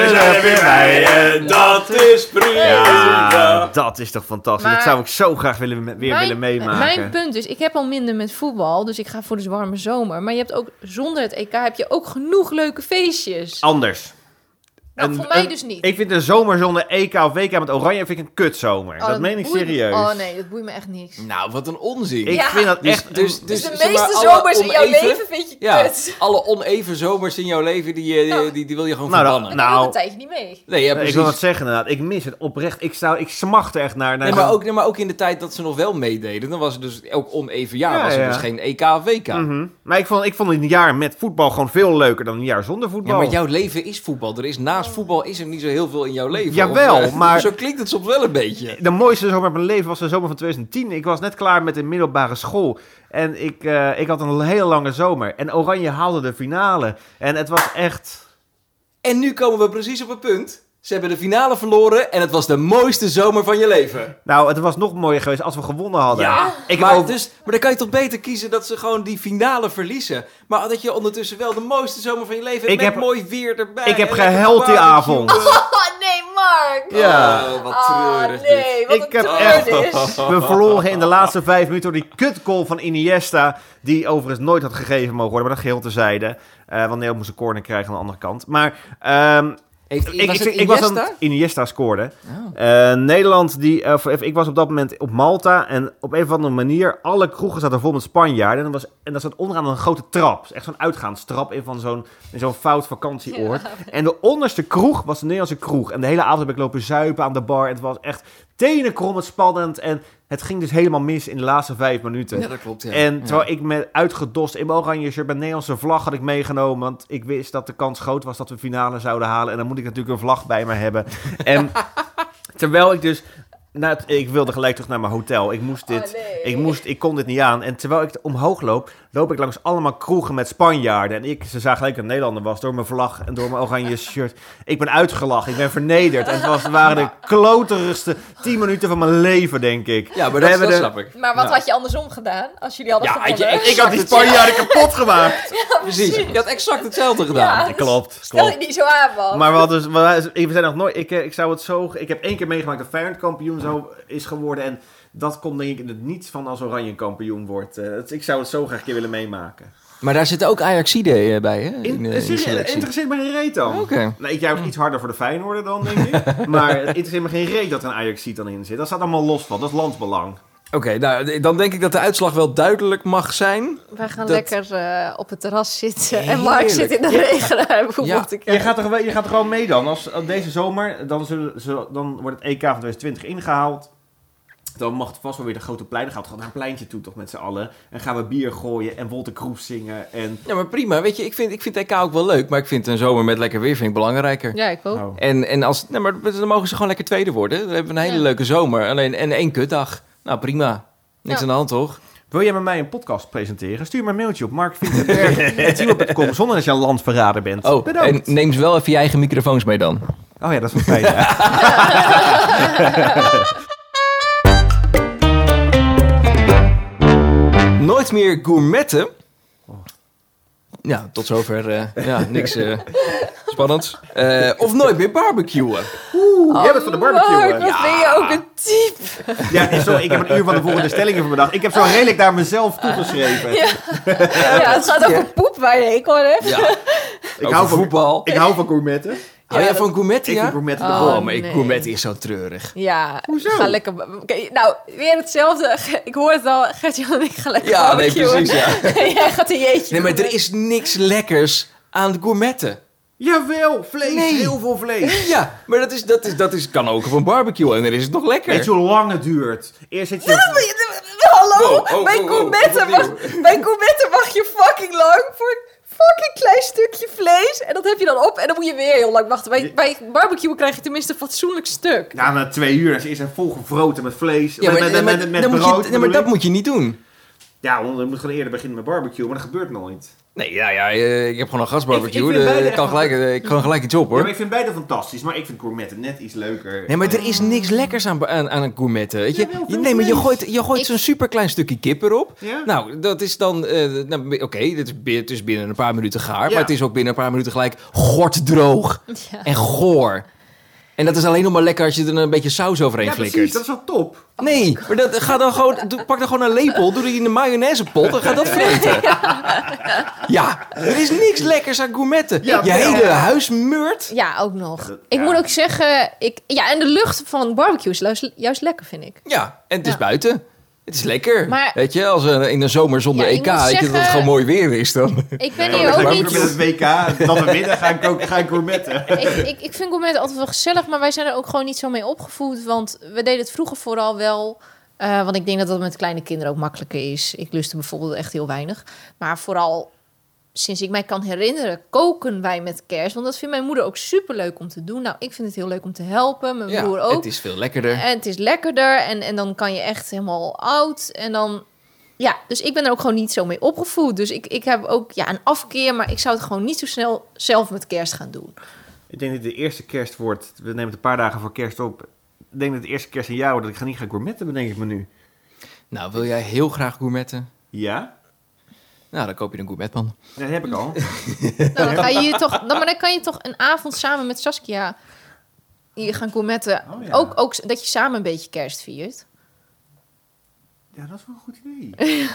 Speaker 5: en dat is prima.
Speaker 2: Ja, dat is toch fantastisch.
Speaker 3: Maar-
Speaker 2: dat zou ik zo graag willen, weer willen meemaken.
Speaker 3: Mijn punt is, ik heb al minder met voetbal, dus ik ga voor de warme zomer. Maar je hebt ook zonder het EK heb je ook genoeg leuke
Speaker 1: Oh,
Speaker 3: feestjes.
Speaker 2: Anders.
Speaker 3: Nou,
Speaker 2: Een-
Speaker 3: voor mij
Speaker 2: een-
Speaker 3: dus niet.
Speaker 2: Ik vind de zomer zonder EK of WK met oranje vind ik een kutzomer.
Speaker 3: Oh,
Speaker 2: dat, meen ik
Speaker 3: boeit me-
Speaker 2: serieus.
Speaker 3: Oh nee, dat boeit me echt niks.
Speaker 1: Nou, wat een onzin.
Speaker 2: Ik
Speaker 3: Ja.
Speaker 2: vind dat
Speaker 1: Dus-
Speaker 2: echt...
Speaker 1: dus-
Speaker 3: Dus, de
Speaker 1: zeg maar,
Speaker 3: meeste
Speaker 1: alle
Speaker 3: zomers in jouw
Speaker 1: oneven-
Speaker 3: leven vind je
Speaker 1: Ja,
Speaker 3: kut.
Speaker 1: alle oneven zomers in jouw leven, die, eh, die, die, die wil je gewoon
Speaker 2: Nou, dat-
Speaker 1: verbannen.
Speaker 3: Ik nou,
Speaker 2: Nou.
Speaker 3: een tijdje niet mee.
Speaker 1: Nee, ja,
Speaker 2: ik
Speaker 1: precies.
Speaker 2: wil wat zeggen inderdaad. Ik mis het oprecht. Ik, zou, ik smacht er echt naar. naar
Speaker 1: Nee, maar ook, nee, maar ook in de tijd dat ze nog wel meededen, dan was het dus ook oneven jaar,
Speaker 2: Ja,
Speaker 1: was er
Speaker 2: ja.
Speaker 1: dus geen EK of WK.
Speaker 2: Mhm. Maar ik vond, ik vond een jaar met voetbal gewoon veel leuker dan een jaar zonder
Speaker 1: Ja,
Speaker 2: voetbal.
Speaker 1: maar jouw leven is voetbal. Er is naast voetbal is er niet zo heel veel in jouw leven.
Speaker 2: Jawel,
Speaker 1: Of, eh,
Speaker 2: maar-
Speaker 1: Zo klinkt het soms wel een beetje.
Speaker 2: De mooiste zomer van mijn leven was de zomer van 2010. Ik was net klaar met de middelbare school. En ik, eh, ik had een hele lange zomer. En Oranje haalde de finale. En het was echt...
Speaker 1: En nu komen we precies op het punt. Ze hebben de finale verloren en het was de mooiste zomer van je leven.
Speaker 2: Nou, het was nog mooier geweest als we gewonnen hadden. ik
Speaker 1: maar,
Speaker 2: ook-
Speaker 1: dus, maar dan kan je toch beter kiezen dat ze gewoon die finale verliezen. Maar dat je ondertussen wel de mooiste zomer van je leven hebt
Speaker 2: Ik
Speaker 1: met
Speaker 2: heb-
Speaker 1: mooi weer erbij.
Speaker 2: ik heb
Speaker 1: en lekker
Speaker 2: gehuild die
Speaker 1: barbecue.
Speaker 2: avond.
Speaker 3: Oh nee, Mark!
Speaker 2: Ja.
Speaker 1: Oh, wat
Speaker 3: Ah,
Speaker 1: treurig dit.
Speaker 3: nee, wat
Speaker 2: Ik
Speaker 3: een
Speaker 2: heb
Speaker 3: treur
Speaker 2: echt-
Speaker 3: dit is.
Speaker 2: We verloren in de laatste vijf minuten door die kutgoal van Iniesta. Die overigens nooit had gegeven mogen worden, maar dat geheel terzijde. Eh, want Nederland moest een corner krijgen aan de andere kant. Maar ehm,
Speaker 1: Heeft,
Speaker 2: ik,
Speaker 1: was
Speaker 2: ik,
Speaker 1: het
Speaker 2: ik was
Speaker 1: Iniesta?
Speaker 2: dan Iniesta scoorde.
Speaker 1: Oh.
Speaker 2: Eh, Nederland, die, eh, voor even- ik was op dat moment op Malta. En op een of andere manier, alle kroegen zaten vol met Spanjaarden. En, dat was, en dat zat onderaan een grote trap. Echt zo'n uitgaanstrap in van zo'n, in zo'n fout vakantieoord. En de onderste kroeg was de Nederlandse kroeg. En de hele avond heb ik lopen zuipen aan de bar. En het was echt tenenkrommend spannend. En het ging dus helemaal mis in de laatste vijf minuten.
Speaker 1: Ja, dat klopt. Ja.
Speaker 2: En
Speaker 1: Ja.
Speaker 2: terwijl ik met uitgedost in mijn oranje shirt met Nederlandse vlag had ik meegenomen. Want ik wist dat de kans groot was dat we finale zouden halen. En dan moet ik natuurlijk een vlag bij me hebben. En terwijl ik dus. Nou, ik wilde gelijk terug naar mijn hotel. Ik moest dit.
Speaker 3: Oh, nee.
Speaker 2: ik, moest, ik kon dit niet aan. En terwijl ik omhoog loop, loop ik langs allemaal kroegen met Spanjaarden. En ik, ze zagen gelijk dat ik een Nederlander was door mijn vlag en door mijn oranje shirt. Ik ben uitgelachen, ik ben vernederd. En het was, waren de kloterigste tien minuten van mijn leven, denk ik.
Speaker 1: Ja, maar
Speaker 2: We
Speaker 1: dat,
Speaker 2: hebben
Speaker 1: dat
Speaker 2: de-
Speaker 1: snap ik.
Speaker 4: Maar wat
Speaker 2: Ja.
Speaker 4: had je andersom gedaan als jullie hadden
Speaker 2: Ja, ik,
Speaker 4: gewonnen?
Speaker 2: ik, ik had die Spanjaarden kapot gemaakt.
Speaker 1: Precies. Je had exact hetzelfde gedaan.
Speaker 4: Ja.
Speaker 2: Klopt,
Speaker 4: Stel
Speaker 2: klopt.
Speaker 4: je niet zo aan, man.
Speaker 2: Maar we, hadden, dus- we waren- we zijn nog nooit. Ik, eh, ik zou het zo. Ik heb één keer meegemaakt dat Feyenoord kampioen zo is geworden. En dat komt denk ik in het niets van als Oranje kampioen wordt. Eh, het- ik zou het zo graag een keer willen meemaken.
Speaker 1: Maar daar zitten ook Ajaxide eh, bij, hè? In,
Speaker 2: In,
Speaker 1: eh, in de
Speaker 2: serieus,
Speaker 1: selectie.
Speaker 2: interesseert me geen reet dan.
Speaker 1: Oké.
Speaker 2: Nee, ik
Speaker 4: Mm.
Speaker 2: juich iets harder voor de Feyenoorder dan, denk ik. maar het interesseert me geen reet dat er een ajax dan in zit. Dat staat allemaal los van. Dat is landsbelang.
Speaker 1: Oké, nou, dan denk ik dat de uitslag wel duidelijk mag zijn.
Speaker 4: Wij gaan
Speaker 1: Dat-
Speaker 4: lekker eh, op het terras zitten. En Mark
Speaker 1: Heerlijk.
Speaker 4: zit in de regen. Hij begon
Speaker 1: Ja.
Speaker 4: op te
Speaker 2: Je
Speaker 4: kijken.
Speaker 2: gaat, er, wel- je gaat er gewoon mee dan. Als, als deze zomer, dan, zullen ze- dan wordt het EK van 2020 ingehaald. Dan mag het vast wel weer de grote plein. Dan gaat het gewoon naar een pleintje toe toch met z'n allen. En gaan we bier gooien en Wolter Kroes zingen. En
Speaker 1: Ja, maar prima. Weet je, ik vind, ik vind EK ook wel leuk, maar ik vind een zomer met lekker weer vind ik belangrijker.
Speaker 3: Ja, ik ook.
Speaker 2: Oh.
Speaker 1: En, en als, nee, maar dan mogen ze gewoon lekker tweede worden. Dan hebben we een hele
Speaker 3: Ja.
Speaker 1: leuke zomer. Alleen, en één kutdag. Nou, prima. Niks
Speaker 3: Ja.
Speaker 1: aan de hand, toch?
Speaker 2: Wil jij met mij een podcast presenteren? Stuur me een mailtje op markvindenberg.com zonder dat je een landverrader bent.
Speaker 1: Oh,
Speaker 2: Bedankt.
Speaker 1: en neem ze wel even je eigen microfoons mee dan.
Speaker 2: Oh ja, dat is wel fijn. ja.
Speaker 1: Nooit meer gourmetten. Ja, tot zover. eh, ja, niks eh, spannends. Eh, of nooit meer barbecuen. Oh,
Speaker 2: Oeh, jij bent van de barbecue. eh.
Speaker 4: Mark,
Speaker 2: hè?
Speaker 4: wat ben je ook een type.
Speaker 2: Ja, zo, ik heb een uur van de volgende stellingen voor bedacht. Ik heb zo redelijk daar mezelf toegeschreven.
Speaker 4: Ja. Ja, het gaat over poep waar je een hekel aan hebt.
Speaker 1: Ja,
Speaker 2: Ik, hou van,
Speaker 1: voetbal.
Speaker 2: ik hou van gourmetten.
Speaker 1: Hou jij van gourmetten,
Speaker 2: Ik
Speaker 1: ja?
Speaker 2: vind gourmetten de
Speaker 4: Oh,
Speaker 2: bom.
Speaker 1: Oh, maar ik
Speaker 3: nee.
Speaker 1: gourmetten is zo treurig.
Speaker 4: Ja,
Speaker 2: Hoezo?
Speaker 4: ga lekker... ba- Oké, Nou, weer hetzelfde. Ge- Ik hoor het al. Gert-Jan en ik gaan lekker
Speaker 1: Ja, nee,
Speaker 4: barbecuen.
Speaker 1: precies, ja.
Speaker 4: Jij gaat een jeetje
Speaker 1: Nee, maar
Speaker 4: doen.
Speaker 1: er is niks lekkers aan het gourmetten.
Speaker 2: Jawel, vlees.
Speaker 1: Nee.
Speaker 2: Heel veel vlees.
Speaker 1: Ja, maar dat, is, dat, is, dat is, kan ook op een barbecue en dan is het nog lekker.
Speaker 2: Weet je hoe lang het duurt? Eerst zit je...
Speaker 4: Hallo,
Speaker 1: Oh, oh,
Speaker 4: bij,
Speaker 1: oh, oh,
Speaker 4: gourmetten
Speaker 1: opnieuw.
Speaker 4: mag, bij gourmetten mag je fucking lang voor een fucking klein stukje vlees. En dat heb je dan op en dan moet je weer heel lang wachten. Bij, bij barbecue krijg je tenminste een fatsoenlijk stuk.
Speaker 2: Ja, na twee uur is eerst een volgevroten met vlees.
Speaker 1: Ja, maar,
Speaker 2: met, met,
Speaker 1: maar-
Speaker 2: met, met
Speaker 1: dan moet je-
Speaker 2: brood.
Speaker 1: nee, maar dat
Speaker 2: bedoel ik.
Speaker 1: moet je niet doen.
Speaker 2: Ja, want we moeten gewoon eerder beginnen met barbecue, maar dat gebeurt nooit.
Speaker 1: Nee, ja, ja, eh, ik heb gewoon een gasbarbecue.
Speaker 2: Ik- ik
Speaker 1: Ik,
Speaker 2: vind beide
Speaker 1: ik, kan
Speaker 2: echt-
Speaker 1: gelijk, eh, ik kan gelijk iets op,
Speaker 2: Ja, maar
Speaker 1: hoor.
Speaker 2: ik vind beide fantastisch, maar ik vind gourmetten net iets leuker.
Speaker 1: Nee, maar er is niks lekkers aan, aan, aan een gourmetten. Weet je?
Speaker 2: Jawel,
Speaker 1: Je-
Speaker 2: veel
Speaker 1: nee, maar je
Speaker 2: vlees.
Speaker 1: gooit, je gooit
Speaker 3: Ik-
Speaker 1: zo'n superklein stukje kip erop.
Speaker 2: Ja?
Speaker 1: Nou, dat is dan... eh, nou, Oké, dit is bi- het is binnen een paar minuten gaar.
Speaker 2: Ja.
Speaker 1: Maar het is ook binnen een paar minuten gelijk gorddroog
Speaker 3: Ja.
Speaker 1: en goor. En dat is alleen nog maar lekker als je er een beetje saus overheen
Speaker 2: ja,
Speaker 1: flikkert.
Speaker 2: precies, dat is wel top.
Speaker 1: Nee, maar dat, ga dan gewoon, doe- pak dan gewoon een lepel, doe die in de mayonaisepot en ga dat vreten. Ja, er is niks lekkers aan gourmetten.
Speaker 2: Ja,
Speaker 1: je
Speaker 2: ja.
Speaker 1: hele huis meurt.
Speaker 3: Ja, ook nog.
Speaker 2: dat-
Speaker 3: Ik
Speaker 2: ja.
Speaker 3: moet ook zeggen, ik, ja, en de lucht van barbecue is juist, juist lekker, vind ik.
Speaker 1: Ja, en het is
Speaker 3: Ja.
Speaker 1: buiten. Het is lekker.
Speaker 3: Maar-
Speaker 1: weet je, als een, in een zomer zonder
Speaker 3: Ja, ik
Speaker 1: EK,
Speaker 3: moet
Speaker 1: weet je, dat
Speaker 3: zeggen-
Speaker 1: het gewoon mooi weer is dan.
Speaker 3: Ik ben
Speaker 2: Nee,
Speaker 3: hier
Speaker 2: dan
Speaker 3: ook
Speaker 2: gaan we
Speaker 3: niet...
Speaker 2: Met het WK, dan we winnen, ga ik ook ga ik gourmetten.
Speaker 3: ik, ik, ik vind gourmet altijd wel gezellig, maar wij zijn er ook gewoon niet zo mee opgevoed. Want we deden het vroeger vooral wel. eh, want ik denk dat dat met kleine kinderen ook makkelijker is. Ik lustte bijvoorbeeld echt heel weinig. Maar vooral sinds ik mij kan herinneren, koken wij met kerst. Want dat vindt mijn moeder ook superleuk om te doen. Nou, ik vind het heel leuk om te helpen. Mijn broer
Speaker 1: Ja,
Speaker 3: ook.
Speaker 1: het is veel lekkerder.
Speaker 3: En het is lekkerder. En, en dan kan je echt helemaal oud. En dan. Ja, dus ik ben er ook gewoon niet zo mee opgevoed. Dus ik, ik heb ook ja, een afkeer, maar ik zou het gewoon niet zo snel zelf met kerst gaan doen.
Speaker 2: Ik denk dat de eerste kerst wordt, we nemen het een paar dagen voor kerst op. Ik denk dat de eerste kerst een jaar wordt dat ik ga niet gaan gourmetten, bedenk ik me nu.
Speaker 1: Nou, wil jij heel graag gourmetten?
Speaker 2: Ja?
Speaker 1: Nou, dan koop je een gourmetpan.
Speaker 2: Nee, dat heb ik al.
Speaker 3: Nou, dan ga je hier toch, dan, maar dan kan je toch een avond samen met Saskia hier gaan gourmetten.
Speaker 2: Oh, ja.
Speaker 3: ook, ook dat je samen een beetje kerst viert.
Speaker 2: Ja, dat is wel een goed idee.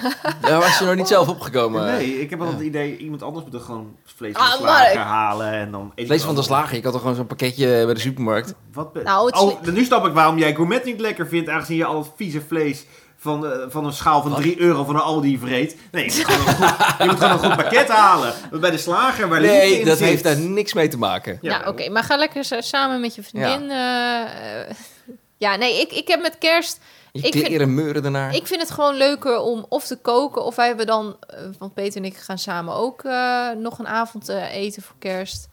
Speaker 1: Daar was je nog niet zelf opgekomen.
Speaker 2: nee, ik heb altijd het idee, iemand anders moet er gewoon vlees van
Speaker 3: Ah,
Speaker 2: de slager
Speaker 3: Mark.
Speaker 2: halen en dan... eet ik
Speaker 1: Vlees van de
Speaker 2: wel.
Speaker 1: slager, ik had toch gewoon zo'n pakketje bij de supermarkt.
Speaker 2: Wat be-
Speaker 3: Nou, het is-
Speaker 2: oh, nu snap ik waarom jij gourmet niet lekker vindt, aangezien je al het vieze vlees van, eh, van een schaal van 3 euro van een Aldi vreet. Nee, je moet gewoon een goed, je moet gewoon een goed pakket halen. Want Bij de slager, waar liefde
Speaker 1: Nee,
Speaker 2: in
Speaker 1: dat
Speaker 2: zit-
Speaker 1: heeft daar niks mee te maken.
Speaker 2: Ja,
Speaker 3: nou, oké. Maar ga lekker sa- samen met je vriendin. Ja, ja nee, ik, ik heb met kerst...
Speaker 1: Je
Speaker 3: Ik vind-
Speaker 1: kleren meuren daarnaar.
Speaker 3: Ik vind het gewoon leuker om of te koken... of wij hebben dan... eh, want Peter en ik gaan samen ook eh, nog een avond eh, eten voor kerst.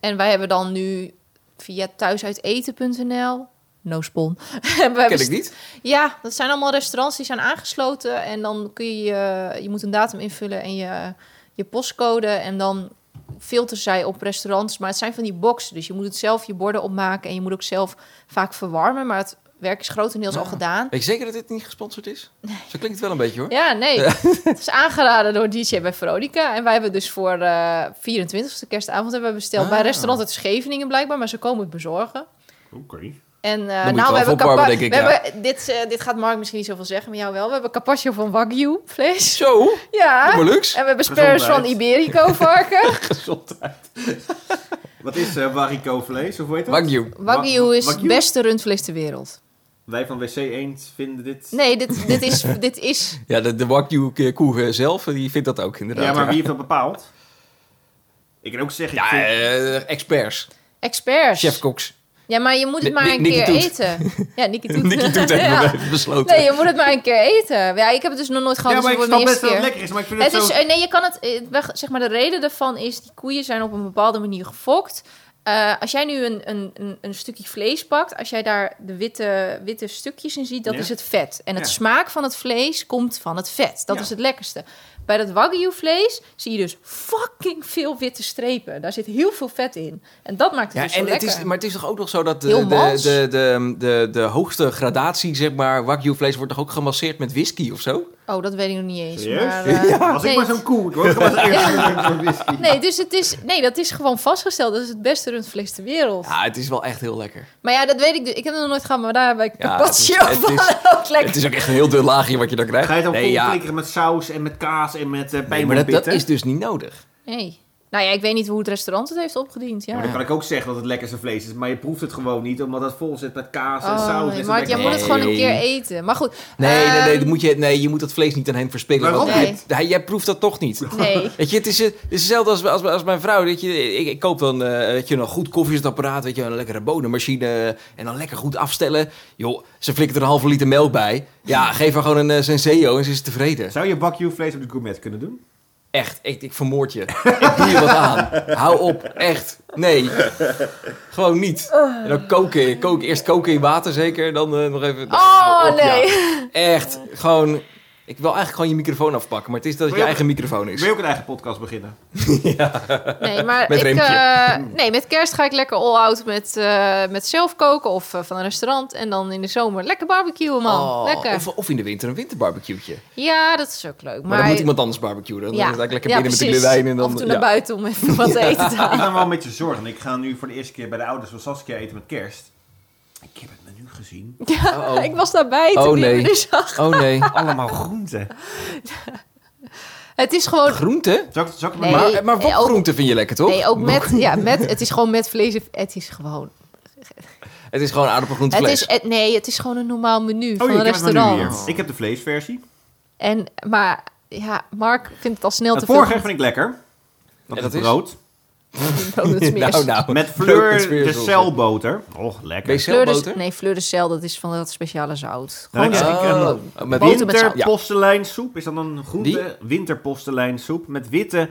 Speaker 3: En wij hebben dan nu via thuisuiteten.nl... no spon. Ken
Speaker 1: Ken ik niet.
Speaker 3: Ja, dat zijn allemaal restaurants die zijn aangesloten. En dan kun je, eh, je moet een datum invullen en je, je postcode. En dan filteren zij op restaurants. Maar het zijn van die boxen. Dus je moet het zelf je borden opmaken. En je moet ook zelf vaak verwarmen. Maar het werk is grotendeels al
Speaker 1: Ja.
Speaker 3: gedaan.
Speaker 1: Weet je zeker dat dit niet gesponsord is? Zo klinkt het wel een beetje hoor.
Speaker 3: Ja, nee. Het is aangeraden door DJ bij Veronica. En wij hebben dus voor eh 24e kerstavond hebben we besteld. Bij
Speaker 1: Ah.
Speaker 3: restaurant uit Scheveningen blijkbaar. Maar ze komen het bezorgen.
Speaker 2: Oké.
Speaker 3: En eh,
Speaker 1: moet je
Speaker 3: nou,
Speaker 1: het
Speaker 3: we
Speaker 1: wel
Speaker 3: hebben,
Speaker 1: opwarmen,
Speaker 3: kapa-
Speaker 1: denk ik,
Speaker 3: we
Speaker 1: ja.
Speaker 3: hebben dit, eh, dit gaat Mark misschien niet zoveel zeggen, maar jou wel. We hebben carpaccio van Wagyu vlees.
Speaker 1: Zo,
Speaker 3: Ja.
Speaker 1: maar luxe.
Speaker 3: En we hebben spares van
Speaker 2: Gezondheid.
Speaker 3: Iberico varken.
Speaker 2: Gezondheid. Wat is eh Warico vlees, of hoe heet dat?
Speaker 1: Wagyu.
Speaker 3: Wagyu is het
Speaker 2: Wagyu?
Speaker 3: beste rundvlees ter wereld.
Speaker 2: Wij van WC Eend vinden dit...
Speaker 3: Nee, dit, dit, is, dit is...
Speaker 1: Ja, de, de Wagyu koe eh, zelf, eh, die vindt dat ook inderdaad.
Speaker 2: Ja, maar wie heeft dat bepaald? Ik kan ook zeggen... ik
Speaker 1: Ja,
Speaker 2: vind-
Speaker 1: eh, experts.
Speaker 3: Experts.
Speaker 1: Chef Cox.
Speaker 3: Ja, maar je moet het
Speaker 1: Ni-
Speaker 3: maar
Speaker 1: Ni-
Speaker 3: een
Speaker 1: Nicky
Speaker 3: keer
Speaker 1: Toet.
Speaker 3: eten. Ja, Nicky Toet.
Speaker 1: Nicky Toet heeft
Speaker 3: Ja.
Speaker 1: be- besloten.
Speaker 3: Nee, je moet het maar een keer eten. Ja, ik heb het dus nog nooit gehad.
Speaker 2: ja,
Speaker 3: dus
Speaker 2: maar ik
Speaker 3: het wordt
Speaker 2: snap
Speaker 3: mijn
Speaker 2: best dat het
Speaker 3: eerste keer.
Speaker 2: lekker is, maar ik vind het,
Speaker 3: Het is,
Speaker 2: zo...
Speaker 3: eh, nee, je kan het, eh, weg- zeg maar, de reden daarvan is, die koeien zijn op een bepaalde manier gefokt. Eh, als jij nu een, een, een, een stukje vlees pakt, als jij daar de witte, witte stukjes in ziet, dat
Speaker 2: Ja.
Speaker 3: is het vet. En het
Speaker 2: Ja.
Speaker 3: smaak van het vlees komt van het vet. Dat
Speaker 2: Ja.
Speaker 3: is het lekkerste. Bij dat wagyu vlees zie je dus fucking veel witte strepen. Daar zit heel veel vet in. En dat maakt het
Speaker 1: Ja,
Speaker 3: dus
Speaker 1: en
Speaker 3: zo
Speaker 1: het
Speaker 3: lekker.
Speaker 1: is, maar het is toch ook nog zo dat de,
Speaker 3: Heel
Speaker 1: de,
Speaker 3: mals.
Speaker 1: de, de, de, de hoogste gradatie, zeg maar, Wagyu vlees wordt toch ook gemasseerd met whisky of zo?
Speaker 3: Oh, dat weet ik nog niet eens.
Speaker 2: Serieus?
Speaker 3: Maar, eh,
Speaker 2: Als ik
Speaker 3: nee,
Speaker 2: maar zo'n koe... Ik word gewoon zo'n eerste whisky.
Speaker 3: nee, dus het is, nee, dat is gewoon vastgesteld. Dat is het beste rundvlees ter wereld.
Speaker 1: Ja, het is wel echt heel lekker.
Speaker 3: Maar ja, dat weet ik dus. Ik heb het nog nooit gehad, maar daar heb ik
Speaker 1: Ja,
Speaker 3: carpaccio
Speaker 1: het is- het
Speaker 3: van
Speaker 1: is-
Speaker 3: ook lekker.
Speaker 1: Het is ook echt een heel dun laagje wat je dan krijgt.
Speaker 2: Ga je dan
Speaker 1: nee,
Speaker 2: vol
Speaker 1: ja.
Speaker 2: flikkeren met saus en met kaas en met uh,
Speaker 1: Nee, maar dat, dat is dus niet nodig.
Speaker 3: Nee. Nou ja, ik weet niet hoe het restaurant het heeft opgediend. Ja.
Speaker 2: Maar dan kan ik ook zeggen dat het lekkerste vlees is, maar je proeft het gewoon niet, omdat het vol zit met kaas en
Speaker 3: Oh,
Speaker 2: saus.
Speaker 3: nee,
Speaker 2: en
Speaker 3: Mark, jij moet het gewoon een
Speaker 1: Nee.
Speaker 3: keer eten. Maar goed.
Speaker 1: Nee, nee, nee,
Speaker 3: ehm,
Speaker 1: dat moet je, nee, je moet dat vlees niet aan hem verspillen.
Speaker 2: Waarom
Speaker 1: want je-
Speaker 3: niet?
Speaker 1: hij- jij proeft dat toch niet.
Speaker 3: Nee.
Speaker 1: Weet je, het is, eh, het is hetzelfde als, als, als mijn vrouw. Weet je, ik, ik koop dan eh, weet je, een goed koffiezetapparaat, weet je, een lekkere bonenmachine eh, en dan lekker goed afstellen. Joh, ze flikt er een halve liter melk bij. Ja, geef haar gewoon een eh, Senseo en ze is tevreden.
Speaker 2: Zou je bakje vlees op de gourmet kunnen doen?
Speaker 1: Echt, echt, ik vermoord je. Ik doe je wat aan. Hou op, echt. Nee, gewoon niet. En dan koken, kook, eerst koken in water zeker, dan eh, nog even... Hou
Speaker 3: Oh,
Speaker 1: op, ja.
Speaker 3: nee.
Speaker 1: Echt, gewoon... Ik wil eigenlijk gewoon je microfoon afpakken, maar het is dat het je eigen microfoon
Speaker 2: Wil
Speaker 1: is.
Speaker 2: je ook een eigen podcast beginnen?
Speaker 3: Nee, maar
Speaker 1: Met
Speaker 3: ik,
Speaker 1: rimpje.
Speaker 3: eh, nee, met kerst ga ik lekker all-out met, eh, met zelf koken of eh, van een restaurant. En dan in de zomer lekker barbecuen, man.
Speaker 1: Oh,
Speaker 3: lekker.
Speaker 1: Of, of in de winter een winterbarbecueetje. Maar,
Speaker 3: Ja, dat is ook leuk. Maar,
Speaker 1: dan moet iemand anders barbecuen. Dan ja. ik lekker
Speaker 3: ja,
Speaker 1: binnen met
Speaker 3: precies.
Speaker 1: de wijn en dan...
Speaker 3: Af en toe
Speaker 1: ja.
Speaker 3: naar buiten om even wat te eten te
Speaker 2: Ik
Speaker 3: halen.
Speaker 2: ben wel een beetje zorgen. Ik ga nu voor de eerste keer bij de ouders van Saskia eten met kerst. Ik heb het menu gezien.
Speaker 3: Ja,
Speaker 1: Oh, oh.
Speaker 3: ik was daarbij toen
Speaker 1: Oh,
Speaker 3: je
Speaker 1: nee.
Speaker 3: me dus zag.
Speaker 1: Oh nee,
Speaker 2: Allemaal groenten.
Speaker 3: Het is gewoon
Speaker 1: groente? Eh,
Speaker 2: Zal ik, zal ik het
Speaker 3: Nee.
Speaker 2: maar
Speaker 1: Maar, maar wat
Speaker 3: Nee, ook-
Speaker 1: groente vind je lekker, toch?
Speaker 3: Nee, ook met, ja, met, het is gewoon met vlees. en- Het is gewoon.
Speaker 1: Het is gewoon aardappelgroente
Speaker 3: Het
Speaker 1: vlees.
Speaker 3: is, het, nee, het is gewoon een normaal menu van
Speaker 2: ja,
Speaker 3: een
Speaker 2: Oh, ik heb het menu
Speaker 3: restaurant.
Speaker 2: hier. Ik heb de vleesversie.
Speaker 3: En, maar ja, Mark vindt het al snel
Speaker 2: Het
Speaker 3: te veel.
Speaker 2: vorige vind ik lekker. Dat
Speaker 1: dat
Speaker 2: is
Speaker 1: is?
Speaker 2: brood.
Speaker 3: Oh, dat is meer.
Speaker 1: nou, nou.
Speaker 2: Met
Speaker 1: Leuk,
Speaker 2: fleur
Speaker 1: het
Speaker 2: de
Speaker 1: smeersel.
Speaker 2: celboter. Och,
Speaker 1: Ben je
Speaker 2: lekker.
Speaker 3: Fleur de-
Speaker 1: celboter?
Speaker 3: nee, fleur de cel, dat is van dat speciale zout.
Speaker 2: Dan
Speaker 3: Gewoon
Speaker 2: heb ik
Speaker 1: Oh,
Speaker 2: een
Speaker 1: met
Speaker 3: boter met zout.
Speaker 2: Winterpostelijnsoep. Is dat een groente? Winterpostelijnsoep met witte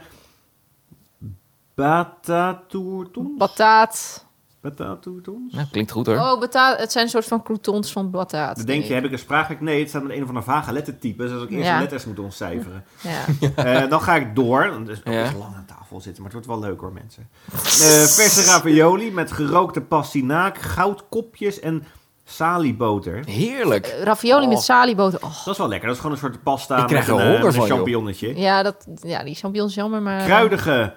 Speaker 2: batatoertons.
Speaker 3: Bataat.
Speaker 2: Batatoertons?
Speaker 1: Nou, klinkt goed hoor.
Speaker 3: Oh, bataat. Het zijn een soort van croutons van bataat.
Speaker 2: Dan denk je, heb ik een spraakwerk? Nee, het staat met een of andere vage lettertypes. Dus als ik eerst
Speaker 3: Ja.
Speaker 2: de letters moet ontcijferen.
Speaker 3: Ja.
Speaker 2: Eh, dan ga ik door. Dus ook
Speaker 1: Ja.
Speaker 2: echt lang aan tafel zitten, maar het wordt wel leuk hoor, mensen. Eh, verse ravioli met gerookte pastinaak, goudkopjes en salieboter.
Speaker 1: Heerlijk.
Speaker 3: Ravioli met
Speaker 1: Oh.
Speaker 3: salieboter. Oh.
Speaker 2: Dat is wel lekker. Dat is gewoon een soort pasta
Speaker 1: Ik
Speaker 2: met
Speaker 1: krijg er
Speaker 2: een, eh,
Speaker 1: honger
Speaker 2: met een
Speaker 1: van, joh.
Speaker 2: champignonnetje.
Speaker 3: Ja, dat, ja, die champignons jammer, maar...
Speaker 2: Kruidige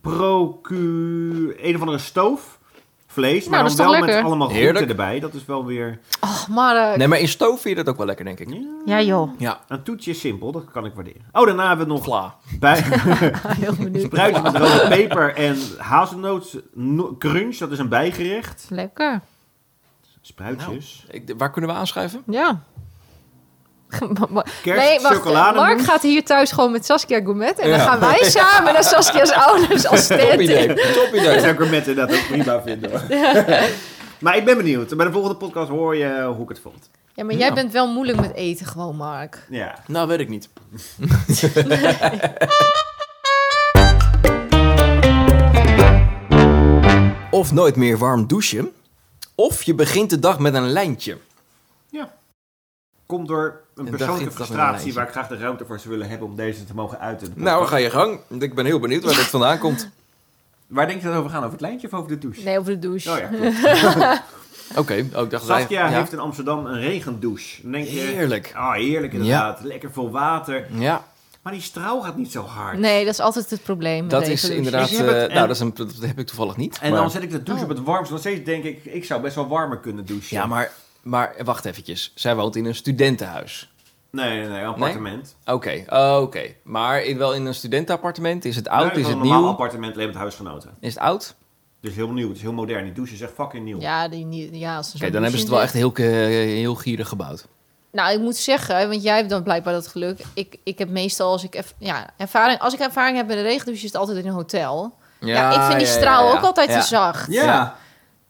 Speaker 2: procu... Een of andere stoof. Vlees, maar
Speaker 3: dat is
Speaker 2: dan wel
Speaker 3: toch
Speaker 2: met
Speaker 3: lekker?
Speaker 2: allemaal groenten
Speaker 1: Heerlijk.
Speaker 2: erbij. Dat is wel weer...
Speaker 3: Oh, Mark.
Speaker 1: Nee, maar in stoof vind je dat ook wel lekker, denk ik.
Speaker 3: Ja, joh.
Speaker 1: Ja.
Speaker 2: Een toetje is simpel, dat kan ik waarderen. Oh, daarna hebben we nog
Speaker 1: Vla.
Speaker 2: bij,
Speaker 3: Heel benieuwd.
Speaker 2: Spruitje met rode peper en hazelnoot no- crunch, dat is een bijgerecht.
Speaker 3: Lekker.
Speaker 2: Spruitjes.
Speaker 1: Ik- Waar kunnen we aanschuiven?
Speaker 3: Ja. Ma- ma-
Speaker 2: Kerst, chocolade
Speaker 3: Mark
Speaker 2: mousse.
Speaker 3: gaat hier thuis gewoon met Saskia Gourmet. En
Speaker 1: Ja.
Speaker 3: dan gaan wij samen naar Saskia's ouders als
Speaker 1: Top idee.
Speaker 3: tent.
Speaker 1: Top
Speaker 2: Dat
Speaker 1: idee.
Speaker 2: zou ik er met inderdaad ook prima vinden. hoor. maar ik ben benieuwd. Bij de volgende podcast hoor je hoe ik het vond.
Speaker 3: Ja, maar jij
Speaker 1: Ja.
Speaker 3: bent wel moeilijk met eten gewoon, Mark.
Speaker 2: Ja.
Speaker 1: Nou, weet ik niet. Of nooit meer warm douchen. Of je begint de dag met een lijntje.
Speaker 2: Komt door een
Speaker 1: dag
Speaker 2: persoonlijke
Speaker 1: in, dag in een
Speaker 2: frustratie
Speaker 1: lijstje.
Speaker 2: waar ik graag de ruimte voor zou willen hebben om deze te mogen uiten. in de
Speaker 1: Nou,
Speaker 2: podcast.
Speaker 1: ga je gang. Ik ben heel benieuwd waar dit vandaan komt.
Speaker 2: Waar denk je dat over gaan? Over het lijntje of over de douche?
Speaker 3: Nee, over de douche.
Speaker 2: Oh ja, klopt.
Speaker 1: Oké, oh, ik dacht...
Speaker 2: Saskia
Speaker 1: ja.
Speaker 2: heeft in Amsterdam een regendouche. Dan denk je,
Speaker 1: Heerlijk.
Speaker 2: Ah, heerlijk inderdaad. Lekker vol water.
Speaker 1: Ja,
Speaker 2: Maar die straal gaat niet zo hard.
Speaker 3: Nee, dat is altijd het probleem. met
Speaker 1: dat
Speaker 3: deze
Speaker 1: is
Speaker 3: douche.
Speaker 1: inderdaad...
Speaker 2: Dus je hebt het-
Speaker 1: eh, nou, dat, is een, dat heb ik toevallig niet.
Speaker 2: En
Speaker 1: maar-
Speaker 2: dan zet ik de douche op het warmst. Nog steeds denk ik, ik zou best wel warmer kunnen douchen.
Speaker 1: Ja, maar, maar wacht eventjes. Zij woont in een studentenhuis.
Speaker 2: Nee, nee, nee, een appartement.
Speaker 1: Oké, oké. Maar in, wel in een studentenappartement? Is het oud?
Speaker 2: Nee,
Speaker 1: is
Speaker 2: gewoon
Speaker 1: het
Speaker 2: een normaal
Speaker 1: nieuw?
Speaker 2: appartement alleen met huisgenoten.
Speaker 1: Is het oud? Oké,
Speaker 2: Dus heel nieuw, het is heel modern. Die douche is echt fucking nieuw.
Speaker 3: Ja, die, niet- ja als er zo'n
Speaker 1: dan hebben ze het
Speaker 3: douche
Speaker 1: wel
Speaker 3: in
Speaker 1: echt heel, eh, heel gierig gebouwd.
Speaker 3: Nou, ik moet zeggen, want jij hebt dan blijkbaar dat geluk. Ik, ik heb meestal als ik, erv- ja, ervaring, als ik ervaring heb met de regendouche, is het altijd in een hotel. Ja, ik vind die
Speaker 1: ja,
Speaker 3: straal
Speaker 1: ja, ja.
Speaker 3: ook altijd
Speaker 1: Ja.
Speaker 3: te zacht.
Speaker 1: Ja.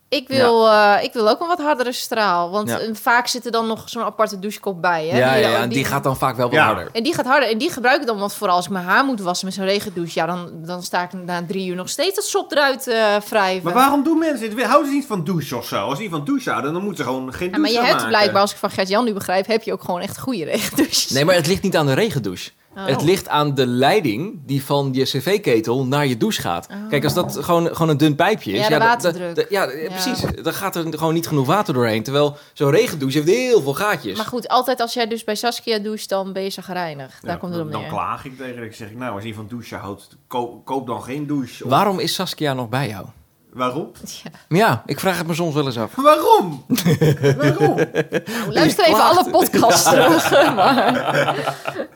Speaker 3: Ik, wil, eh, ik wil ook een wat hardere straal. Want
Speaker 1: Ja.
Speaker 3: eh, vaak zit er dan nog zo'n aparte douchekop bij. Hè?
Speaker 1: Ja, ja,
Speaker 3: Die-
Speaker 1: ja, en die gaat dan vaak wel wat
Speaker 2: Ja.
Speaker 1: harder.
Speaker 3: En die gaat harder. En die gebruik ik dan, want vooral als ik mijn haar moet wassen met zo'n regendouche... ja, dan, dan sta ik na drie uur nog steeds dat sop eruit eh wrijven.
Speaker 2: Maar waarom doen mensen dit? Houden ze niet van douche of zo? Als ze niet van douche houden, dan moeten ze gewoon geen
Speaker 3: Ja,
Speaker 2: douche
Speaker 3: maar je
Speaker 2: aan
Speaker 3: hebt
Speaker 2: maken.
Speaker 3: blijkbaar, als ik van Gert-Jan nu begrijp... heb je ook gewoon echt goede regendouches.
Speaker 1: Nee, maar het ligt niet aan de regendouche.
Speaker 3: Oh.
Speaker 1: Het ligt aan de leiding die van je cv-ketel naar je douche gaat. Kijk, als dat gewoon, gewoon een dun pijpje is...
Speaker 3: Oh. Ja, de
Speaker 1: dat-
Speaker 3: waterdruk.
Speaker 1: dat- ja, precies. Dan gaat er gewoon niet genoeg water doorheen. Terwijl zo'n regendouche heeft heel veel gaatjes.
Speaker 3: Maar goed, altijd als jij dus bij Saskia doucht, dan ben je zagrijnig.
Speaker 2: Ja,
Speaker 3: Daar komt het
Speaker 2: dan,
Speaker 3: om
Speaker 2: dan
Speaker 3: neer.
Speaker 2: klaag ik tegen. haar. Ik zeg, nou, als je niet van douche houdt, koop, koop dan geen douche. Of-
Speaker 1: Waarom is Saskia nog bij jou?
Speaker 2: Waarom?
Speaker 1: Ja, ik vraag het me soms wel eens af.
Speaker 2: Waarom? Waarom?
Speaker 3: Nou, luister even
Speaker 1: klaagt.
Speaker 3: alle podcasts terug. Maar,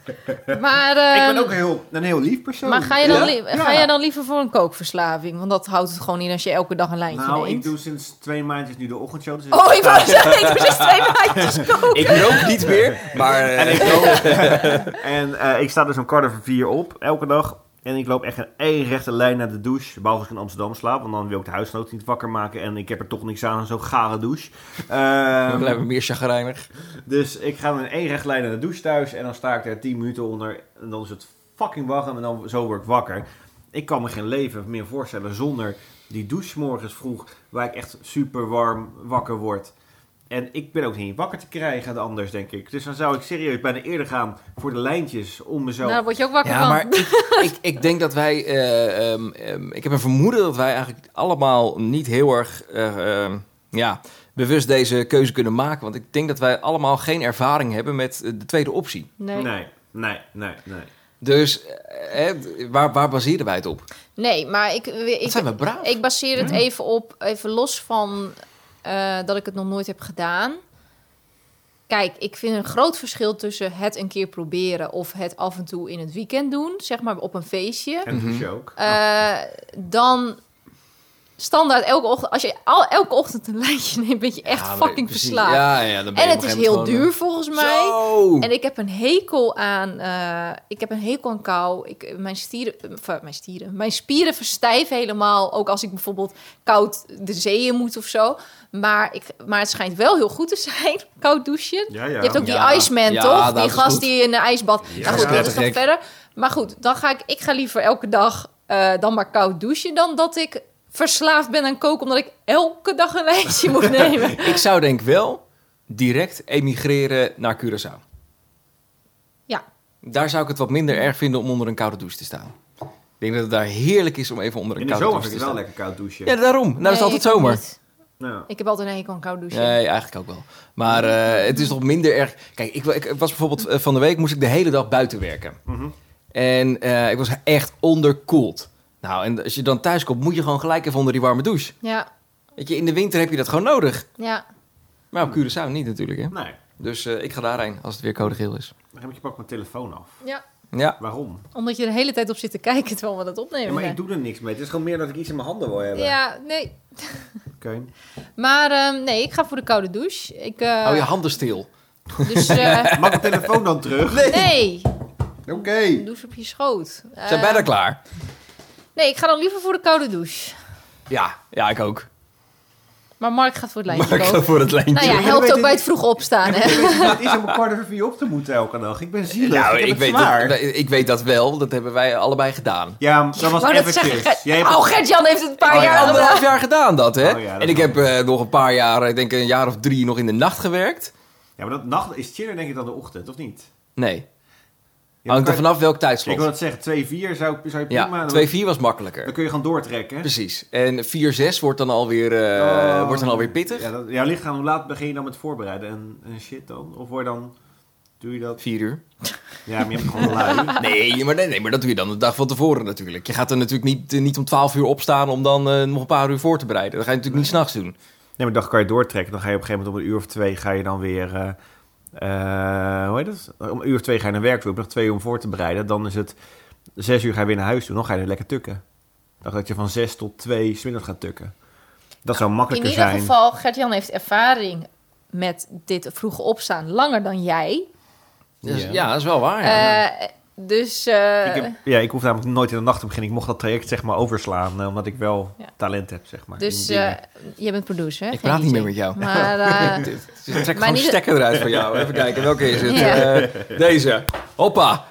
Speaker 3: maar,
Speaker 2: ik
Speaker 3: ehm,
Speaker 2: ben ook heel, een heel lief persoon.
Speaker 3: maar ga, je dan li-
Speaker 2: Oh, Ja.
Speaker 3: ga je dan liever voor een kookverslaving? Want dat houdt het gewoon in als je elke dag een lijntje
Speaker 2: Nou, ik
Speaker 3: neemt.
Speaker 2: doe sinds twee maandjes nu de ochtendshow. dus-
Speaker 3: Oh, ik wou zeggen, ik doe dus twee maandjes koken.
Speaker 1: Ik rook niet meer, maar... eh,
Speaker 2: En ik loop... en eh, ik sta dus om kwart over vier op, elke dag. En ik loop echt een één rechte lijn naar de douche. Behalve als ik in Amsterdam slaap, want dan wil ik de huisgenoot niet wakker maken. En ik heb er toch niks aan, zo'n gare douche. Ehm,
Speaker 1: Dan blijven we meer chagrijnig.
Speaker 2: dus ik ga in één rechte lijn naar de douche thuis. En dan sta ik daar tien minuten onder. En dan is het fucking wachten. En dan zo word ik wakker. Ik kan me geen leven meer voorstellen zonder die douche 's morgens vroeg. Waar ik echt super warm wakker word. En ik ben ook niet wakker te krijgen anders, denk ik. Dus dan zou ik serieus bijna eerder gaan voor de lijntjes om mezelf...
Speaker 3: Nou, daar word je ook wakker
Speaker 1: Ja,
Speaker 3: van.
Speaker 1: maar ik, ik, ik denk dat wij... eh, ehm, ehm, ik heb een vermoeden dat wij eigenlijk allemaal niet heel erg... eh, ehm, ja, bewust deze keuze kunnen maken. Want ik denk dat wij allemaal geen ervaring hebben met eh, de tweede optie.
Speaker 3: Nee. nee.
Speaker 2: Nee, nee, nee, nee.
Speaker 1: Dus eh, waar, waar baseren wij het op?
Speaker 3: maar ik, ik,
Speaker 1: Dat zijn we braaf.
Speaker 3: Ik baseer het even op, even los van eh, dat ik het nog nooit heb gedaan. Kijk, ik vind een groot verschil tussen het een keer proberen of het af en toe in het weekend doen, zeg maar op een feestje.
Speaker 2: En douche ook.
Speaker 3: Eh, dan standaard elke ochtend, als je al, elke ochtend een lijntje neemt, ben je echt
Speaker 1: Ja, maar
Speaker 3: fucking
Speaker 1: precies.
Speaker 3: verslaafd.
Speaker 1: Ja, ja, dan ben
Speaker 3: en
Speaker 1: je
Speaker 3: het
Speaker 1: op
Speaker 3: is
Speaker 1: een
Speaker 3: heel
Speaker 1: gegeven
Speaker 3: duur
Speaker 1: moment
Speaker 3: volgens
Speaker 1: gewoon,
Speaker 3: mij.
Speaker 1: eh, Zo!
Speaker 3: En ik heb een hekel aan. eh, ik heb een hekel aan kou. Ik, eh, mijn, stieren, enfin, mijn stieren. Mijn spieren verstijven helemaal. Ook als ik bijvoorbeeld koud de zee in moet of zo. Maar, ik, maar het schijnt wel heel goed te zijn. Koud douchen.
Speaker 2: Ja, ja.
Speaker 3: Je hebt ook
Speaker 1: Ja.
Speaker 3: die Iceman,
Speaker 1: Ja,
Speaker 3: toch?
Speaker 1: dat
Speaker 3: die
Speaker 1: is
Speaker 3: gast
Speaker 1: goed.
Speaker 3: die in de ijsbad.
Speaker 2: Ja,
Speaker 3: nou goed,
Speaker 2: dat
Speaker 3: dat
Speaker 1: is
Speaker 3: is nog
Speaker 1: gek.
Speaker 3: verder. Maar goed, dan ga ik. Ik ga liever elke dag eh, dan maar koud douchen. Dan dat ik verslaafd ben aan koken. Omdat ik elke dag een lijntje moet nemen.
Speaker 1: Ik zou denk wel direct emigreren naar Curaçao.
Speaker 3: Ja.
Speaker 1: Daar zou ik het wat minder erg vinden om onder een koude douche te staan. Ik denk dat het daar heerlijk is om even onder een
Speaker 2: In de
Speaker 1: koude
Speaker 2: zomer
Speaker 1: douche
Speaker 2: vind
Speaker 1: te
Speaker 2: ik
Speaker 1: staan.
Speaker 2: wel lekker koud douchen. Nou,
Speaker 1: Ja, daarom. Nou, dat is
Speaker 3: Nee,
Speaker 1: altijd
Speaker 3: ik
Speaker 1: zomer.
Speaker 3: niet.
Speaker 2: Ja.
Speaker 3: Ik heb altijd een hekel aan koud douchen.
Speaker 1: Nee, eigenlijk ook wel. Maar eh, het is nog minder erg. Kijk, ik, wa- ik was bijvoorbeeld eh, van de week moest ik de hele dag buiten werken.
Speaker 2: Mhm.
Speaker 1: En eh, ik was echt onderkoeld. Nou, en als je dan thuis komt, moet je gewoon gelijk even onder die warme douche.
Speaker 3: Ja,
Speaker 1: Weet je, in de winter heb je dat gewoon nodig.
Speaker 3: ja.
Speaker 1: Maar op Curaçao niet natuurlijk, hè.
Speaker 2: Nee,
Speaker 1: Dus eh, ik ga daarheen als het weer code geel is.
Speaker 2: dan heb ik je pak mijn telefoon af.
Speaker 3: Ja,
Speaker 1: Ja.
Speaker 2: Waarom?
Speaker 3: omdat je de hele tijd op zit te kijken terwijl we dat opnemen.
Speaker 2: Ja, maar
Speaker 3: zijn.
Speaker 2: ik doe er niks mee. Het is gewoon meer dat ik iets in mijn handen wil hebben.
Speaker 3: ja nee.
Speaker 2: Oké.
Speaker 3: Maar ehm, nee, ik ga voor de koude douche. Ik, eh,
Speaker 1: Hou Oh, je handen stil.
Speaker 3: Dus eh,
Speaker 2: Mag ik mijn telefoon dan terug?
Speaker 3: nee,
Speaker 2: Oké.
Speaker 3: douche op je schoot. Eh,
Speaker 1: Zijn bijna klaar.
Speaker 3: Nee, ik ga dan liever voor de koude douche.
Speaker 1: Ja, ja, ik ook.
Speaker 3: Maar Mark gaat voor het lijntje
Speaker 1: Mark gaat
Speaker 3: kopen.
Speaker 1: voor het lijntje.
Speaker 3: Nou ja,
Speaker 2: Ik
Speaker 3: helpt
Speaker 2: weet
Speaker 3: ook bij
Speaker 2: het-
Speaker 3: het vroeg opstaan, hè?
Speaker 2: Het is om een kwart over vier op te moeten elke dag. Ik ben zielig. ik, heb het
Speaker 1: Nou, weet
Speaker 2: zwaar.
Speaker 1: dat, ik weet dat wel. Dat hebben wij allebei gedaan.
Speaker 2: Ja, dat was
Speaker 3: wou net
Speaker 2: even
Speaker 3: zeggen,
Speaker 2: Chris. Jij hebt
Speaker 3: Oh, Gert-Jan heeft het een paar
Speaker 1: Oh, ja.
Speaker 3: jaar gedaan.
Speaker 1: Anderhalf jaar gedaan dat, hè?
Speaker 2: Oh, ja, dat
Speaker 1: en ik
Speaker 2: wel.
Speaker 1: heb eh, nog een paar jaar, ik denk een jaar of drie, nog in de nacht gewerkt.
Speaker 2: Ja, maar dat nacht is chiller denk ik dan de ochtend, of niet?
Speaker 1: Nee.
Speaker 2: Ja,
Speaker 1: Hangt er
Speaker 2: dan kan je-
Speaker 1: vanaf welk tijdslot.
Speaker 2: Ik wil dat zeggen, 2-4 zou, zou je prima...
Speaker 1: ja,
Speaker 2: dan-
Speaker 1: 2-4 was makkelijker.
Speaker 2: Dan kun je gaan doortrekken. hè?
Speaker 1: Precies. En 4-6 wordt dan alweer, eh
Speaker 2: Oh.
Speaker 1: wordt dan alweer pittig.
Speaker 2: Ja, dat, ja, ligt aan hoe laat begin je dan met voorbereiden en, en shit dan? Of word je dan... Doe je dat...
Speaker 1: 4 uur.
Speaker 2: Ja, maar je hebt gewoon lui.
Speaker 1: Nee maar, nee, nee, maar dat doe je dan de dag van tevoren natuurlijk. Je gaat er natuurlijk niet, eh, niet om 12 uur opstaan om dan eh, nog een paar uur voor te bereiden. Dat ga je natuurlijk niet s'nachts doen.
Speaker 2: Nee, maar dan kan je doortrekken. Dan ga je op een gegeven moment om een uur of twee ga je dan weer... eh, eh, hoe heet dat? Om een uur of twee ga je naar werk toe. Heb je nog twee uur om voor te bereiden. Dan is het zes uur ga je weer naar huis toe. Dan ga je lekker tukken. Dan dat je van zes tot twee smiddags gaat tukken. Dat zou
Speaker 3: In
Speaker 2: makkelijker
Speaker 3: ieder
Speaker 2: zijn.
Speaker 3: geval, Gert-Jan heeft ervaring met dit vroege opstaan langer dan jij.
Speaker 1: Dus,
Speaker 2: Ja.
Speaker 1: ja. dat is wel waar. ja.
Speaker 3: Eh, dus eh,
Speaker 2: Ik heb, ja, ik hoef namelijk nooit in de nacht te beginnen. Ik mocht dat traject zeg maar overslaan. eh, omdat ik wel
Speaker 3: Ja.
Speaker 2: talent heb, zeg maar.
Speaker 3: dus
Speaker 2: in dingen.
Speaker 3: eh, je bent producer, hè?
Speaker 1: Ik
Speaker 3: Geen
Speaker 1: praat niet
Speaker 3: DJ.
Speaker 1: meer met jou.
Speaker 3: Maar eh,
Speaker 1: Dus trek gewoon
Speaker 3: Maar
Speaker 1: een
Speaker 3: niet-
Speaker 1: stekker eruit van jou. Even kijken, welke is het?
Speaker 3: Ja.
Speaker 1: Eh, deze. Hoppa.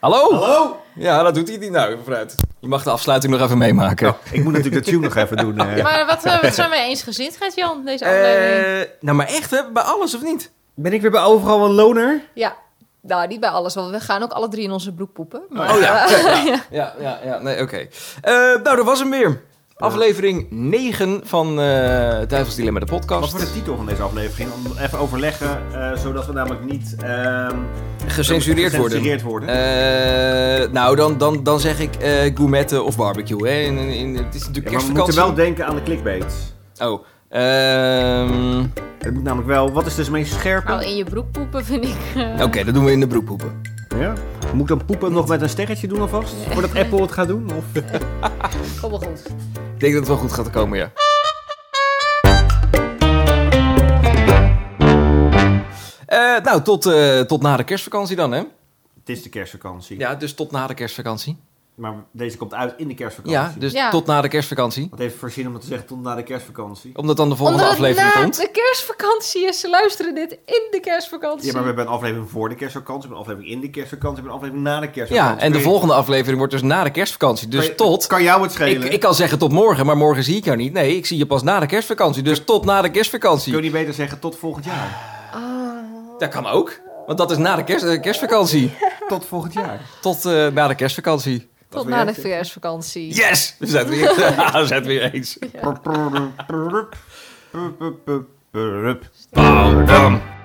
Speaker 1: Hallo? Hallo? Ja, dat doet hij niet nou, vooruit. Je mag de afsluiting nog even meemaken.
Speaker 2: Ik moet natuurlijk de tune nog even doen. eh.
Speaker 3: eh, maar wat, eh, wat zijn wij eens gezind, Gert-Jan, deze aflevering?
Speaker 1: Eh, nou, maar echt, hè? Bij alles of niet?
Speaker 2: Ben ik weer bij overal een loner?
Speaker 3: Ja, nou, niet bij alles, want we gaan ook alle drie in onze broek poepen. Maar,
Speaker 1: Oh ja. Ja, ja, ja. ja. Nee, oké. Eh, nou, dat was hem weer. Aflevering 9 van eh Duivels Dilemma, de
Speaker 2: Wat
Speaker 1: podcast.
Speaker 2: wordt de titel van deze aflevering? Om even overleggen, eh, zodat we namelijk niet ehm,
Speaker 1: Gecensureerd worden.
Speaker 2: gecensureerd worden.
Speaker 1: Eh, nou, dan, dan, dan zeg ik eh gourmetten of barbecue. Hè? In, in, in- het is
Speaker 2: Ja,
Speaker 1: natuurlijk
Speaker 2: maar we moeten
Speaker 1: kerstvakantie.
Speaker 2: wel denken aan de clickbait.
Speaker 1: Oh, ehm,
Speaker 2: Het moet namelijk wel, wat is dus het meest scherpe?
Speaker 3: nou, in je broek poepen vind ik... eh,
Speaker 1: oké, dat doen we in de broekhoepen.
Speaker 2: Ja? Moet ik dan poepen nog met een sterretje doen alvast? Voordat Apple het gaat doen? Of?
Speaker 3: Kom maar goed.
Speaker 1: Ik denk dat het wel goed gaat komen, ja. Eh, nou, tot, eh, tot na de kerstvakantie dan, hè?
Speaker 2: Het is de kerstvakantie.
Speaker 1: Ja, dus tot na de kerstvakantie.
Speaker 2: Maar deze komt uit in de kerstvakantie.
Speaker 1: Ja, dus
Speaker 3: Ja.
Speaker 1: tot na de kerstvakantie.
Speaker 2: Wat even voorzien om het te zeggen tot na de kerstvakantie.
Speaker 1: Omdat dan de volgende
Speaker 3: Omdat het
Speaker 1: aflevering
Speaker 3: na
Speaker 1: komt.
Speaker 3: de kerstvakantie is, ze luisteren dit in de kerstvakantie.
Speaker 2: Ja, maar we hebben een aflevering voor de kerstvakantie, we hebben een aflevering in de kerstvakantie, we hebben een aflevering na de kerstvakantie.
Speaker 1: Ja, en de
Speaker 2: Kun je-
Speaker 1: volgende aflevering wordt dus na de kerstvakantie. Dus
Speaker 2: kan je-
Speaker 1: tot...
Speaker 2: Kan jou het
Speaker 1: Ik,
Speaker 2: schelen?
Speaker 1: ik kan zeggen tot morgen, maar morgen zie ik jou niet. Nee, ik zie je pas na de kerstvakantie. Dus tot na de kerstvakantie.
Speaker 2: Kun je niet beter zeggen tot volgend jaar?
Speaker 1: Dat kan ook. Want dat is na de kerst, eh, kerstvakantie.
Speaker 2: Tot volgend jaar.
Speaker 1: Tot eh, na de kerstvakantie.
Speaker 2: Dat
Speaker 3: Tot
Speaker 2: is
Speaker 3: na
Speaker 2: weer-
Speaker 3: de kerstvakantie.
Speaker 1: Yes! We zijn het weer, we zijn het weer eens.
Speaker 2: Prup, prup, prup, prup, prup, prup.
Speaker 1: Bam, bam.